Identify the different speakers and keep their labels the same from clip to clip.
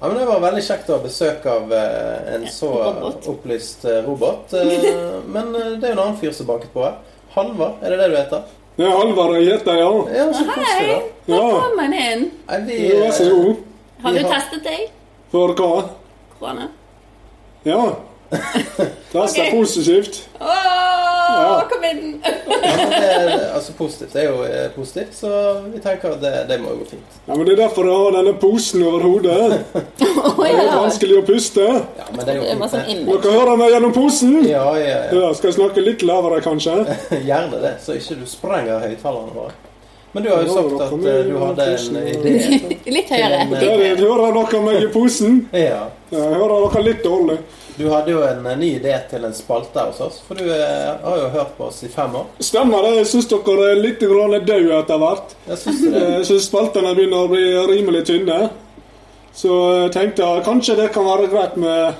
Speaker 1: Ja, men Det var veldig kjekt å ha besøk av eh, en
Speaker 2: Ja,
Speaker 1: så
Speaker 2: robot.
Speaker 1: opplyst eh, robot. Eh, Men eh, det er jo en annen fyr som banket på her. Halvard, er det det du heter?
Speaker 3: Det er Halvard jeg heter, ja.
Speaker 1: Ja, så koselig, da.
Speaker 2: Hei, velkommen inn.
Speaker 1: Nei, vi, eh,
Speaker 3: Jo, vær så god.
Speaker 2: Har
Speaker 1: Vi
Speaker 2: du
Speaker 1: har-
Speaker 2: testet deg,
Speaker 3: For hva?
Speaker 2: Krone?
Speaker 3: Ja. Test er
Speaker 2: Ok.
Speaker 3: positivt.
Speaker 2: Åh,
Speaker 3: Ja.
Speaker 2: kom inn!
Speaker 1: eh, ja, men det, er- altså positivt. Det er jo eh, positivt, så vi tenker at det, det må jo gå fint.
Speaker 3: Ja, men Det er derfor jeg har denne posen over hodet.
Speaker 2: Åh,
Speaker 3: Det er litt
Speaker 2: ja.
Speaker 3: vanskelig å puste.
Speaker 1: Ja, men det er jo
Speaker 2: Det var
Speaker 1: fint.
Speaker 2: sånn
Speaker 1: det.
Speaker 2: image.
Speaker 3: Dere hører meg gjennom posen?
Speaker 1: Ja, ja, ja.
Speaker 3: Ja, Skal jeg snakke litt lavere, kanskje?
Speaker 1: Gjerne det, så ikke du sprenger høyttalerne våre. Men du har jo
Speaker 3: Ja,
Speaker 1: sagt
Speaker 3: da
Speaker 1: at
Speaker 3: kommer
Speaker 1: eh, du
Speaker 3: jo
Speaker 1: hadde en
Speaker 3: tusen-
Speaker 1: idé.
Speaker 2: Litt høyere.
Speaker 1: Til en,
Speaker 3: Der er- hører dere meg i posen?
Speaker 1: Ja.
Speaker 3: Ja, Jeg hører dere litt dårlig.
Speaker 1: Du hadde jo en eh, ny idé til en spalte hos oss, for du eh, har jo hørt på oss i fem år.
Speaker 3: Stemmer det? Jeg syns dere er litt grann døde etter hvert.
Speaker 1: Jeg syns det.
Speaker 3: Jeg syns spaltene begynner å bli rimelig tynne. Så jeg tenkte jeg kanskje det kan være greit med,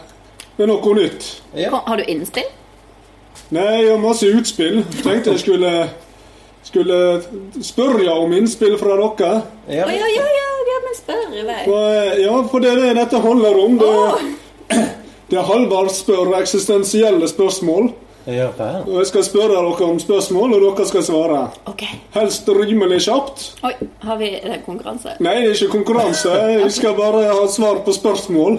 Speaker 3: med noe nytt.
Speaker 1: Ja.
Speaker 2: Har du innspill?
Speaker 3: Nei, og masse utspill. Tenkte jeg skulle, skulle spørre om innspill fra dere.
Speaker 1: Ja.
Speaker 2: Å, ja, ja, ja, ja, men spør i vei.
Speaker 3: Og, eh, ja, for det er det dette handler om. Det, det er Halvard spør eksistensielle spørsmål.
Speaker 1: Ja, vel.
Speaker 3: Og jeg skal spørre dere om spørsmål, og dere skal svare.
Speaker 2: Ok.
Speaker 3: Helst rimelig kjapt.
Speaker 2: Oi, har vi er det en konkurranse?
Speaker 3: Nei, det er ikke konkurranse. Vi skal bare ha svar på spørsmål.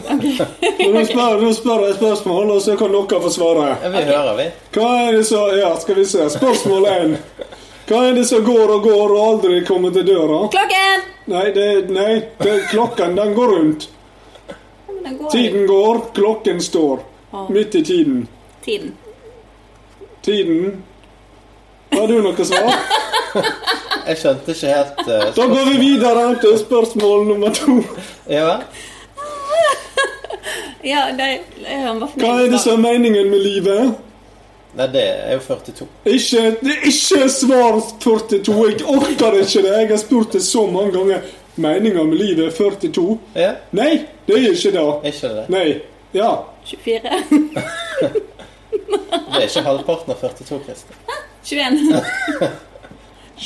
Speaker 3: Nå spør, nå spør jeg spørsmål, og så kan dere få svare.
Speaker 1: Ja, Vi hører, vi.
Speaker 3: Hva er det som Ja, skal vi se. Spørsmål én. Hva er det som går og går og aldri kommer til døra?
Speaker 2: Klokken!
Speaker 3: Nei, det, nei det, klokken den går rundt.
Speaker 2: Ja, men den går jo.
Speaker 3: Tiden går, klokken står. Midt i tiden.
Speaker 2: Tiden.
Speaker 3: Tiden Har du noe svar?
Speaker 1: Jeg skjønte ikke helt eh,
Speaker 3: Da går vi videre til spørsmål nummer to.
Speaker 1: Ja vel?
Speaker 2: Ja, det er han var for
Speaker 3: Hva er det som er meningen med livet?
Speaker 1: Nei, det er jo 42.
Speaker 3: Ikke, det er ikke svar 42. Jeg orker ikke det. Jeg har spurt det så mange ganger. Meninga med livet er 42.
Speaker 1: Ja,
Speaker 3: Nei, det er ikke det.
Speaker 1: er ikke det?
Speaker 3: Nei. Ja.
Speaker 2: 24.
Speaker 1: Det er ikke halvparten av 42, Kristin.
Speaker 2: 21.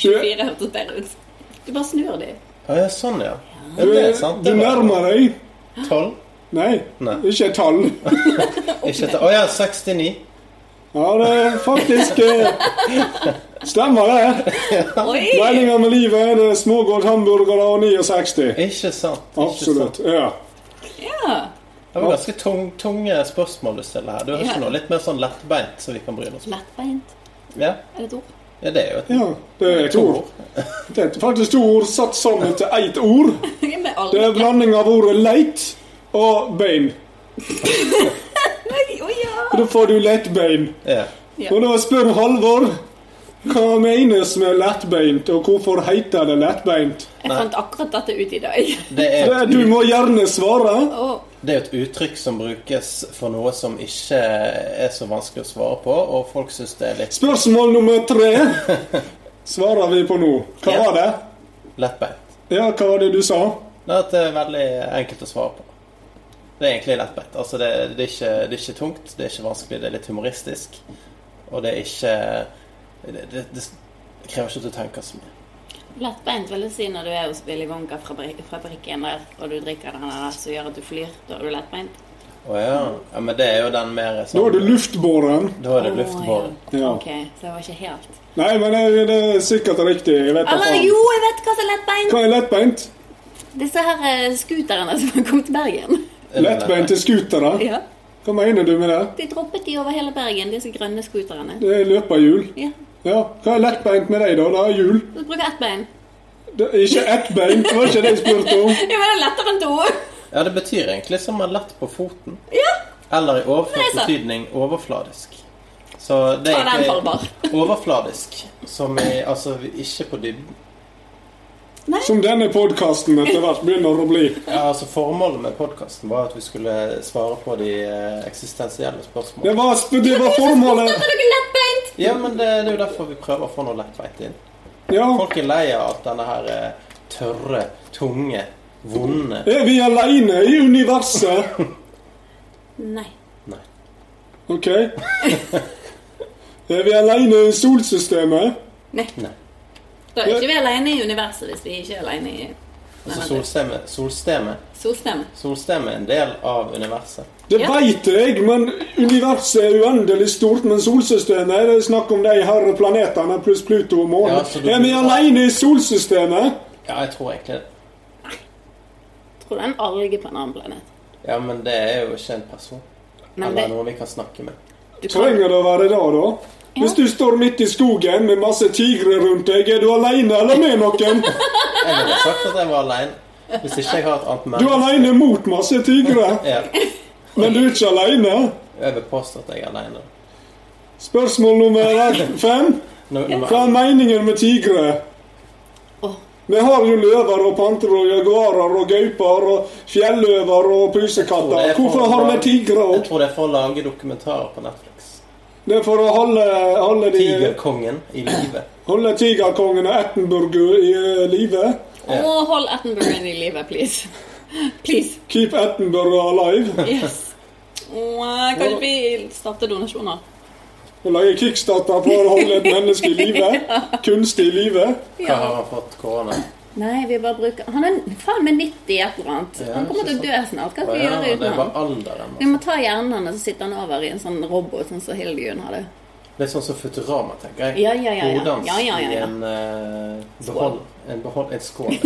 Speaker 3: 20.
Speaker 2: 24 hørtes bedre ut. Du bare snur de.
Speaker 1: Å ja, sånn, ja. ja.
Speaker 3: Du,
Speaker 1: Det
Speaker 3: er-
Speaker 1: er sant.
Speaker 3: du
Speaker 1: Det var-
Speaker 3: nærmer deg.
Speaker 1: 12?
Speaker 3: Nei,
Speaker 1: Nei.
Speaker 3: ikke et tall.
Speaker 1: Ikke til Å ja, 69.
Speaker 3: Ja, det er faktisk eh, Stemmer det.
Speaker 2: Oi!
Speaker 3: Meninga med livet er det smågodt hamburgere og 69.
Speaker 1: Ikke sant. Ikke
Speaker 3: Absolutt.
Speaker 1: Sant.
Speaker 3: Ja.
Speaker 2: Ja.
Speaker 1: Det var ganske tung, tunge spørsmål du stiller her. Du har
Speaker 2: Ja.
Speaker 1: ikke noe litt mer sånn lettbeint som vi kan bryne oss med?
Speaker 2: Lettbeint.
Speaker 1: Ja,
Speaker 2: Er det et ord?
Speaker 1: ja det er jo et
Speaker 3: ja. Det er to ord. Det er faktisk to ord satt sammen til ett ord.
Speaker 2: Jeg ble
Speaker 3: Det er
Speaker 2: aldri
Speaker 3: en blanding av ordet leit og bein.
Speaker 2: Oi, ja.
Speaker 3: Da får du lettbein.
Speaker 1: Ja.
Speaker 3: Og da spør Halvor hva menes med lettbeint, og hvorfor heter det lettbeint?
Speaker 2: Jeg fant akkurat dette ut i dag.
Speaker 1: Det, er
Speaker 3: Det,
Speaker 1: jo et,
Speaker 3: du må gjerne svare.
Speaker 2: Åh,
Speaker 1: det er jo et uttrykk som brukes for noe som ikke er så vanskelig å svare på, og folk syns det er litt
Speaker 3: Spørsmål nummer tre svarer vi på nå. Hva
Speaker 1: Ja.
Speaker 3: var det?
Speaker 1: lettbeint.
Speaker 3: Ja, hva var det du sa?
Speaker 1: Det er at det er veldig enkelt å svare på. Det er egentlig lettbeint. Altså det, det, er ikke, det er ikke tungt, det er ikke vanskelig, det er litt humoristisk. Og det er ikke Det, det, det krever ikke at du tenker så mye.
Speaker 2: Lettbeint vil jeg si når du er hos Willy Wonka fra bri- fabrikken der, og du drikker den der som gjør at du flyr. Da er du lettbeint.
Speaker 1: Å ja. ja. Men det er jo den mer sånn
Speaker 3: Da er det luftbåren.
Speaker 1: Da er det
Speaker 2: Åh,
Speaker 1: luftbåren.
Speaker 3: Ja.
Speaker 2: ja. Ok, så jeg var ikke helt
Speaker 3: Nei, men det, det er sikkert riktig. Jeg vet da
Speaker 2: Eller
Speaker 1: sånn.
Speaker 3: faen.
Speaker 2: jo, jeg vet hva som er lettbeint!
Speaker 3: Hva er lettbeint?
Speaker 2: Disse her eh, scooterne som har kommet til Bergen.
Speaker 1: Er det
Speaker 3: Lettbeinte scootere?
Speaker 2: Ja.
Speaker 3: Hva mener du med det?
Speaker 2: De droppet de over hele Bergen, disse grønne scooterne.
Speaker 3: Det er løperhjul.
Speaker 2: Ja.
Speaker 3: Ja. Hva er lettbeint med deg, da? Det er hjul.
Speaker 2: Du bruker ett bein.
Speaker 3: Det er ikke ett bein, det var ikke det jeg spurte om.
Speaker 2: Ja, men det er lettere enn to!
Speaker 1: Ja, det betyr egentlig som er lett på foten.
Speaker 2: Ja!
Speaker 1: Eller i overført
Speaker 2: Nei, så.
Speaker 1: betydning overfladisk. Så det
Speaker 2: Ta
Speaker 1: er
Speaker 2: den,
Speaker 1: egentlig
Speaker 2: Halvard.
Speaker 1: overfladisk, som i Altså vi- ikke på dybden.
Speaker 3: Som denne podkasten etter hvert begynner å bli.
Speaker 1: Ja, altså Formålet med podkasten var at vi skulle svare på de eh, eksistensielle spørsmålene.
Speaker 3: Det var, sp- det var formålet.
Speaker 2: Er dere lettbeint?
Speaker 1: Ja, men det, det er jo derfor vi prøver å få noe lettbeint inn.
Speaker 3: Ja.
Speaker 1: Folk er lei av alt denne her eh, tørre, tunge, vonde
Speaker 3: Er vi aleine i universet?
Speaker 2: Nei.
Speaker 1: Nei.
Speaker 3: OK. Er vi aleine i solsystemet?
Speaker 2: Nei.
Speaker 1: Nei.
Speaker 2: Da er ikke vi alene i universet hvis vi ikke er alene i
Speaker 1: Altså
Speaker 2: Nei,
Speaker 1: solstemme Solstemme
Speaker 2: Solstem.
Speaker 1: Solstemme er en del av universet.
Speaker 3: Det
Speaker 2: Ja.
Speaker 3: veit jeg, men universet er uendelig stort. Men solsystemet det er snakk om de her planetene pluss Pluto og månen.
Speaker 1: Ja, så du-
Speaker 3: er vi aleine i solsystemet?
Speaker 1: Ja, jeg tror egentlig det.
Speaker 2: Tror det er en alge på en annen planet.
Speaker 1: Ja, men det er jo ikke en person.
Speaker 2: Men
Speaker 1: Eller
Speaker 2: det-
Speaker 1: noe vi kan snakke med.
Speaker 2: Du kan,
Speaker 3: Trenger det å være det, da? Hvis du står midt i skogen med masse tigre rundt deg, er du aleine eller med noen?
Speaker 1: Jeg ville sagt at jeg var aleine. Hvis ikke jeg har et annet
Speaker 3: Du er
Speaker 1: menneske.
Speaker 3: aleine mot masse tigre,
Speaker 1: Ja,
Speaker 3: men du er ikke aleine.
Speaker 1: jeg vil påstå at jeg er aleine.
Speaker 3: Spørsmål nummer fem. Hva er meningen med tigre?
Speaker 2: Åh.
Speaker 3: Vi har jo løver og panter og jaguarer og gauper og fjelløver og pusekatter. Hvorfor har vi tigre
Speaker 1: Jeg
Speaker 3: òg?
Speaker 1: tror det er for å lage dokumentarer på Netflix.
Speaker 3: Det er for å holde, holde, de,
Speaker 1: Tigerkongen i live.
Speaker 3: holde tigerkongen og Attenburger i eh, live.
Speaker 2: Å, hold Attenborough i livet, please. Please.
Speaker 3: Keep Attenburger alive.
Speaker 2: Yes. Åh, kan ikke vi starte donasjoner?
Speaker 3: Å lage kickstarter for å holde et menneske i live. Kunstig i live.
Speaker 1: Hva har han fått korona?
Speaker 2: Nei, vi bare bruker Han er faen meg 90 et eller annet.
Speaker 1: Ja,
Speaker 2: Han kommer til å
Speaker 1: ikke
Speaker 2: dø snart. Hva skal vi
Speaker 1: Ja,
Speaker 2: gjøre
Speaker 1: det er
Speaker 2: uten
Speaker 1: bare
Speaker 2: han?
Speaker 1: alderen.
Speaker 2: Vi må
Speaker 1: Altså.
Speaker 2: ta hjernen hans og sitte han over i en sånn robot, sånn som Hildegunn hadde.
Speaker 1: Litt sånn som Futurama, tenker jeg.
Speaker 2: Ja, ja, ja, ja.
Speaker 1: Hodans
Speaker 2: Ja, ja, ja, ja.
Speaker 1: i en eh, behold, en, behold, en skål.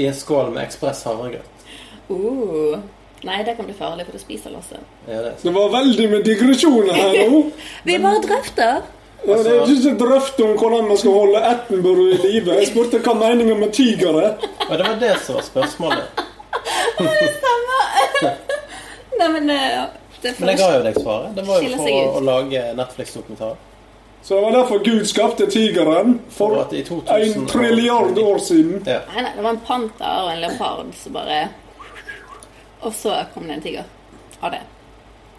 Speaker 1: I en skål med ekspress havregrøt.
Speaker 2: Uh. Nei, det kan bli farlig, for det spiser Lasse.
Speaker 1: Ja, det er sånn.
Speaker 3: Det var veldig med digresjoner her nå.
Speaker 2: Vi bare drøfter.
Speaker 3: Ja, Det er ikke drøft om hvordan man skal holde Attenburger i live. Jeg spurte hva meningen med tigre.
Speaker 1: Og det var det som var spørsmålet.
Speaker 2: Nei, men eh, det
Speaker 1: Men jeg ga jo deg svaret. Det var jo
Speaker 2: Skiller
Speaker 1: for
Speaker 2: seg
Speaker 1: å,
Speaker 2: ut.
Speaker 1: å lage Netflix-dokumentar.
Speaker 3: Så det var derfor Gud skapte tigeren
Speaker 1: For
Speaker 3: for
Speaker 1: at i 2000
Speaker 3: en trilliard år siden.
Speaker 1: Ja.
Speaker 2: Nei, nei, det var en panter og en leopard som bare Og så kom det en tiger av det.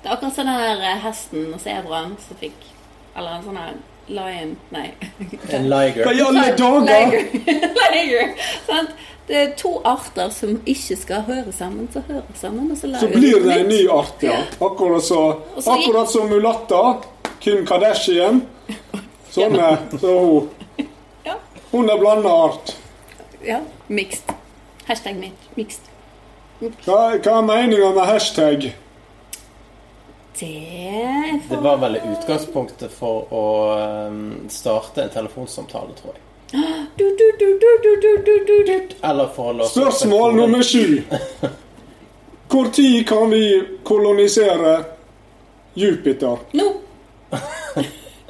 Speaker 2: Det er akkurat som den der eh, hesten og sebraen som fikk Eller en sånn her lion Nei.
Speaker 1: En liger.
Speaker 3: Hva i alle dager?
Speaker 2: Liger. Liger. Sant? Det er to arter som ikke skal høre sammen, så hører sammen, og så lager
Speaker 3: Så blir
Speaker 2: de
Speaker 3: det
Speaker 2: nytt.
Speaker 3: en ny art, ja. Akkurat så,
Speaker 2: Og så gikk-
Speaker 3: akkurat som mulatta. Kim Kardashian. Sånn er så hun.
Speaker 2: Ja.
Speaker 3: Hun er blanda art.
Speaker 2: Ja. Mixed. Hashtag mi- mixed.
Speaker 3: Hva, hva er meningen med hashtag?
Speaker 2: Det
Speaker 1: Det var vel utgangspunktet for å eh, starte en telefonsamtale, tror jeg.
Speaker 2: du, du, du, du, du, du, du, du, du.
Speaker 1: Eller for å låse opp et
Speaker 3: Spørsmål
Speaker 1: forum.
Speaker 3: nummer sju. Hvor tid kan vi kolonisere Jupiter?
Speaker 2: Nå!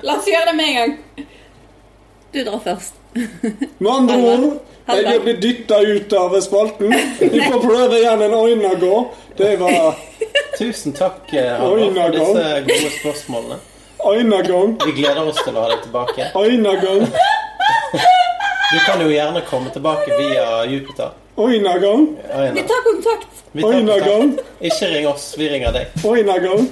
Speaker 2: La oss gjøre det med en gang. Du drar først.
Speaker 3: Med andre ord, jeg er blitt dytta ut av spalten. Vi får prøve igjen en øynegå. Det var
Speaker 1: Tusen takk eh, Harald,
Speaker 3: Oi,
Speaker 1: for
Speaker 3: Nagal.
Speaker 1: disse gode spørsmålene.
Speaker 3: øynegang.
Speaker 1: Vi gleder oss til å ha deg tilbake.
Speaker 3: Øynegang.
Speaker 1: Du kan jo gjerne komme tilbake via Jupiter.
Speaker 3: Øynegang.
Speaker 1: Aina.
Speaker 2: Vi tar kontakt.
Speaker 1: Vi tar
Speaker 3: Aina Gang.
Speaker 1: kontakt. Ikke ring oss, vi ringer deg.
Speaker 3: Øynegang.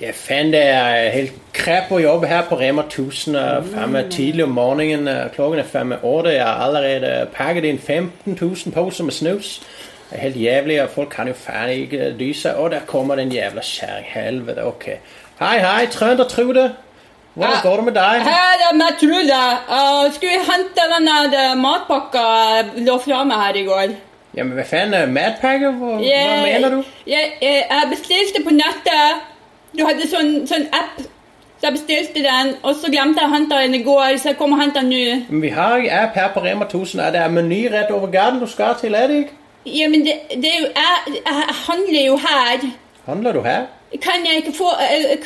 Speaker 1: Jeg fant det er helt krep å jobbe her på Rema 1000 eh, fem er tidlig om morgenen. eh, Klokken er fem er åtte. Jeg har allerede pakket inn 15 000 poser med snus. Det er helt jævlig, og folk kan jo faen ikke eh, dy seg. Og der kommer den jævla kjerring. Helvete, ok. Hei, hei, Trønder-Trude. Hvordan
Speaker 4: Ah.
Speaker 1: går det med deg?
Speaker 4: Her er Matrude. Uh, skulle jeg hente den der matpakka jeg lå fra meg her i går?
Speaker 1: Ja, men hva faen, eh, Madpacker? Hva, hva
Speaker 4: Jeg-
Speaker 1: mener du?
Speaker 4: Jeg, jeg, jeg bestilte på nettet. Du hadde sånn, sånn app. Så jeg bestilte den, og så glemte jeg å hente den i går, så jeg kom og hentet den nå.
Speaker 1: Men vi har ikke app her på Rema 1000. Er det en meny rett over gaten du skal til, er det ikke?
Speaker 4: Ja, men det, det er jo jeg, jeg handler jo her.
Speaker 1: Handler du her?
Speaker 4: Kan jeg ikke få eh,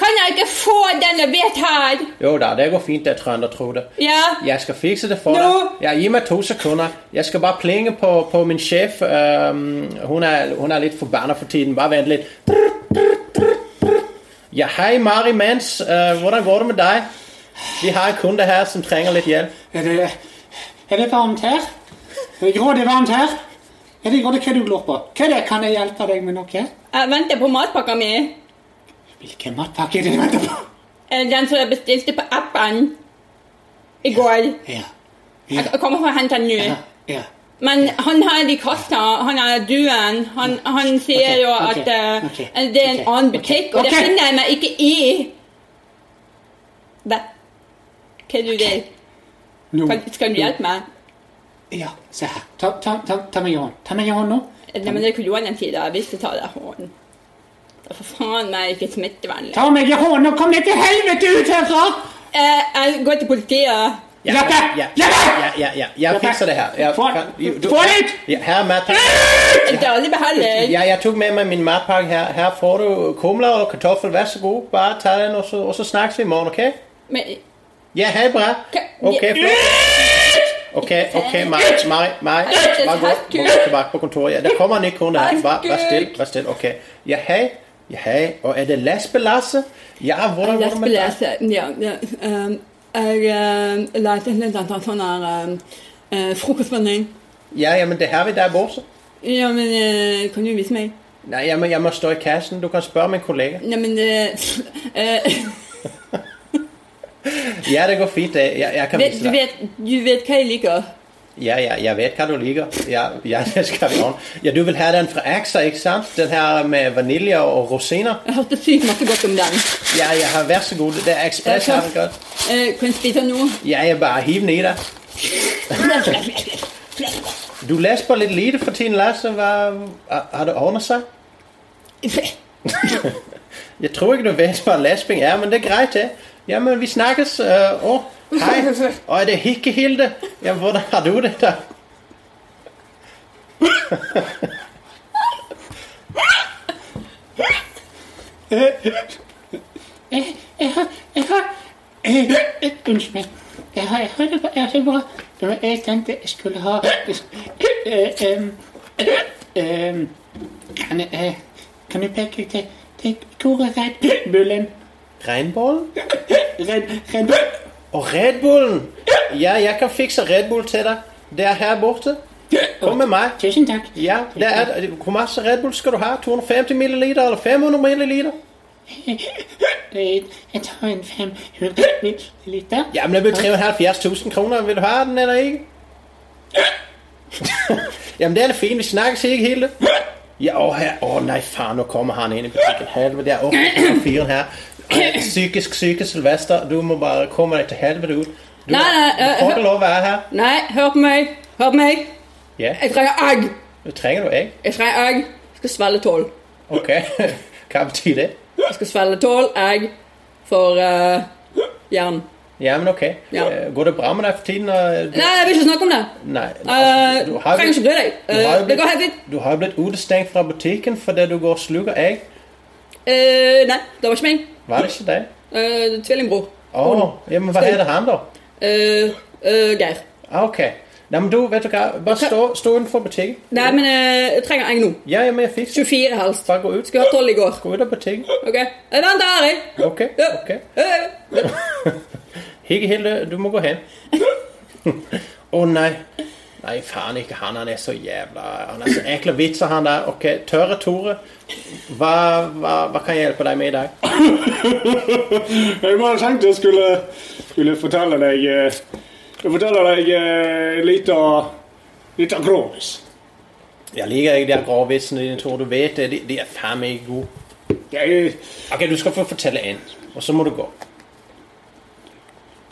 Speaker 4: Kan jeg ikke få den jeg vet her?
Speaker 1: Jo da, det går fint det, Trønder, Trude.
Speaker 4: Ja.
Speaker 1: Jeg skal fikse det for
Speaker 4: Nå!
Speaker 1: deg. Ja, gi meg to sekunder. Jeg skal bare plinge på, på min sjef. Ehm, hun, er, hun er litt forbanna for tiden. Bare vent litt. Ja, hei, Mari Mens. Eh, hvordan går det med deg? Vi har en kunde her som trenger litt hjelp.
Speaker 5: Er det, er det varmt her? Er det grådig varmt her? Er det grådig hva du glor på? Hva er det? Kan jeg hjelpe deg med noe?
Speaker 4: Jeg venter på matpakka mi.
Speaker 5: Hvilken matpakke er det du venter på?
Speaker 4: Eh, Den som jeg bestilte på appen i går.
Speaker 5: Ja,
Speaker 4: Jeg kommer for å hente den nå.
Speaker 5: ja, ja.
Speaker 4: Men han her i kassa, han er duen, han, han sier
Speaker 5: Ok,
Speaker 4: jo
Speaker 5: ok,
Speaker 4: at eh,
Speaker 5: ok,
Speaker 4: det er en
Speaker 5: ok,
Speaker 4: annen
Speaker 5: ok,
Speaker 4: butikk, og
Speaker 5: ok.
Speaker 4: det finner jeg meg ikke i. Hva? Hva du vil?
Speaker 5: Nå.
Speaker 4: Kan, skal du hjelpe meg?
Speaker 5: Ja, se her. Ta, ta, ta, ta meg i hånden. Ta meg i hånden nå.
Speaker 4: Eh, Nei, men det er koronatida, jeg vil ikke ta deg i hånden. Det er for faen meg ikke smittevernlig.
Speaker 5: Ta meg i hånden og kom deg til helvete ut herfra!
Speaker 4: Eh, jeg går til politiet.
Speaker 1: Ja,
Speaker 5: Jeppe!
Speaker 1: ja, ja,
Speaker 5: Jeppe!
Speaker 1: ja, ja, ja, jeg
Speaker 5: Jeppe!
Speaker 1: fikser det her. Jeg,
Speaker 5: Få-
Speaker 1: kan- du-
Speaker 5: få Øh! det ut!
Speaker 1: Ja, her, Matt.
Speaker 4: En dårlig behandling.
Speaker 1: Ja, jeg tok med meg min matpakke her. Her får du kumler og kartoffel. Vær så god. Bare ta den, og så, og så snakkes vi i morgen, OK?
Speaker 4: Men,
Speaker 1: Ja, ha det bra.
Speaker 4: Hva-
Speaker 1: OK, flott. OK, ok, Mari,
Speaker 5: Øh!
Speaker 1: Mari, Mari. Bare gå, gå tilbake på kontoret. Ja, der kommer en ny kone her. Bare vær stille. Vær stille. OK. Ja, hei. Ja, hei. Og er det lesbe-Lasse? Ja, hvordan går
Speaker 4: Jeg
Speaker 1: det med deg?
Speaker 4: leste, ja, ja, ehm, jeg ehm, leste litt etter sånn her ehm, eh, frokostmelding.
Speaker 1: Ja, ja, men det har vi der borte.
Speaker 4: Ja, men eh, kan du vise meg?
Speaker 1: Nei, jeg må, jeg må stå i kassen. Du kan spørre min kollega.
Speaker 4: Ja, men eh, eh,
Speaker 1: Ja, det går fint. det. Jeg, jeg kan
Speaker 4: vet,
Speaker 1: vise deg.
Speaker 4: du, vet, du vet hva jeg liker?
Speaker 1: Ja, ja, jeg vet hva du liker. Ja, ja, det skal vi ordne. Ja, du vil ha den fra Axa, ikke sant? Den her med vanilje og rosiner.
Speaker 4: Jeg hørte sykt masse godt om den.
Speaker 1: Ja, ja, vær så god. Det er Ekspress.
Speaker 4: Ja,
Speaker 1: Ja,
Speaker 4: takk. Eh, kan jeg spise den nå?
Speaker 1: ja, jeg bare hiv den i deg. Du lesber litt lite for tiden, Lasse. Hva, har det ordnet seg? Jeg tror ikke du vet hva lesbing er, men det er greit, det. Ja, men vi snakkes. øh, Å, hei. Å, er det Hikkehilde? Ja, hvordan har du det, da?
Speaker 5: Jeg, jeg har Jeg har jeg, jeg, Unnskyld meg. Jeg har, jeg har det bare- jeg har det bra. Det var jeg tenkte jeg skulle ha eh, em, em, kan, jeg- eh, kan du peke til, til hvor er Red Bullen?
Speaker 1: Regnbollen?
Speaker 5: Red, Red Bull.
Speaker 1: Og Red Bullen! Ja, jeg kan fikse Red Bull til deg. Det er her borte. Kom med meg.
Speaker 5: Tusen takk.
Speaker 1: Ja, det er, Hvor masse Red Bull skal du ha? 250 milliliter eller 500 milliliter?
Speaker 5: Jeg, jeg tar en 500 milliliter.
Speaker 1: Ja, men det blir 375 000 kroner. Vil du ha den eller ikke? Jamen, det er det fint. Vi snakkes ikke, Hilde. Ja, å, her. å nei, faen, nå kommer han inn i butikken. Helvete, jeg orker ikke fyren her. Psykisk syke Sylvester, du må bare komme deg til helvete ut. Du,
Speaker 4: Nei, nei,
Speaker 1: du får ikke lov å være her.
Speaker 4: Nei, hør på meg. Hør på meg.
Speaker 1: Ja,
Speaker 4: Jeg trenger egg.
Speaker 1: du trenger du egg.
Speaker 4: Jeg trenger egg. Jeg skal svelge tolv.
Speaker 1: Ok, hva betyr det?
Speaker 4: Jeg skal svelge tolv egg for eh, jern.
Speaker 1: Ja, men ok.
Speaker 4: Ja.
Speaker 1: Eh, Går det bra med deg for tiden? og-
Speaker 4: Nei, jeg vil ikke snakke om det.
Speaker 1: Nei.
Speaker 4: Eh,
Speaker 1: altså, du, du, har
Speaker 4: trenger ikke
Speaker 1: blitt,
Speaker 4: bry
Speaker 1: du
Speaker 4: deg.
Speaker 1: har jo
Speaker 4: Eh, det
Speaker 1: blitt-
Speaker 4: går helt fint.
Speaker 1: du har jo blitt utestengt fra butikken fordi du går og sluker egg.
Speaker 4: Eh, nei, det var ikke meg.
Speaker 1: Var det ikke det?
Speaker 4: Eh, tvillingbror.
Speaker 1: Å, ja, men hva
Speaker 4: Stil.
Speaker 1: heter han da?
Speaker 4: Eh, eh, Geir.
Speaker 1: Ah, ok. Nei, men du, vet du hva? Bare stå, stå utenfor butikken.
Speaker 4: Nei, men eh, jeg trenger egg nå.
Speaker 1: Ja, ja, men jeg fikser det.
Speaker 4: 24 helst.
Speaker 1: Bare gå ut.
Speaker 4: Skulle hatt 12 i går.
Speaker 1: Gå ut av butikken.
Speaker 4: Ok? Eh, Vent, der er jeg!
Speaker 1: Ok,
Speaker 4: Ja.
Speaker 1: ok.
Speaker 4: Eh,
Speaker 1: Higge Hilde, du må gå hen. Å nei. Nei, faen ikke han. Han er så jævla Han er så ekle vitser, han der. Ok, Tørre Tore, hva, hva, hva kan jeg hjelpe deg med i dag?
Speaker 3: Jeg bare tenkte jeg skulle, skulle fortelle deg eh, Fortelle deg eh, litt av Litt av grovis.
Speaker 1: Jeg liker ikke de her grove vitsene dine, Tore. Du vet det. De, de er faen meg ikke gode.
Speaker 3: Jeg,
Speaker 1: Ok, du skal få fortelle en, og så må du gå.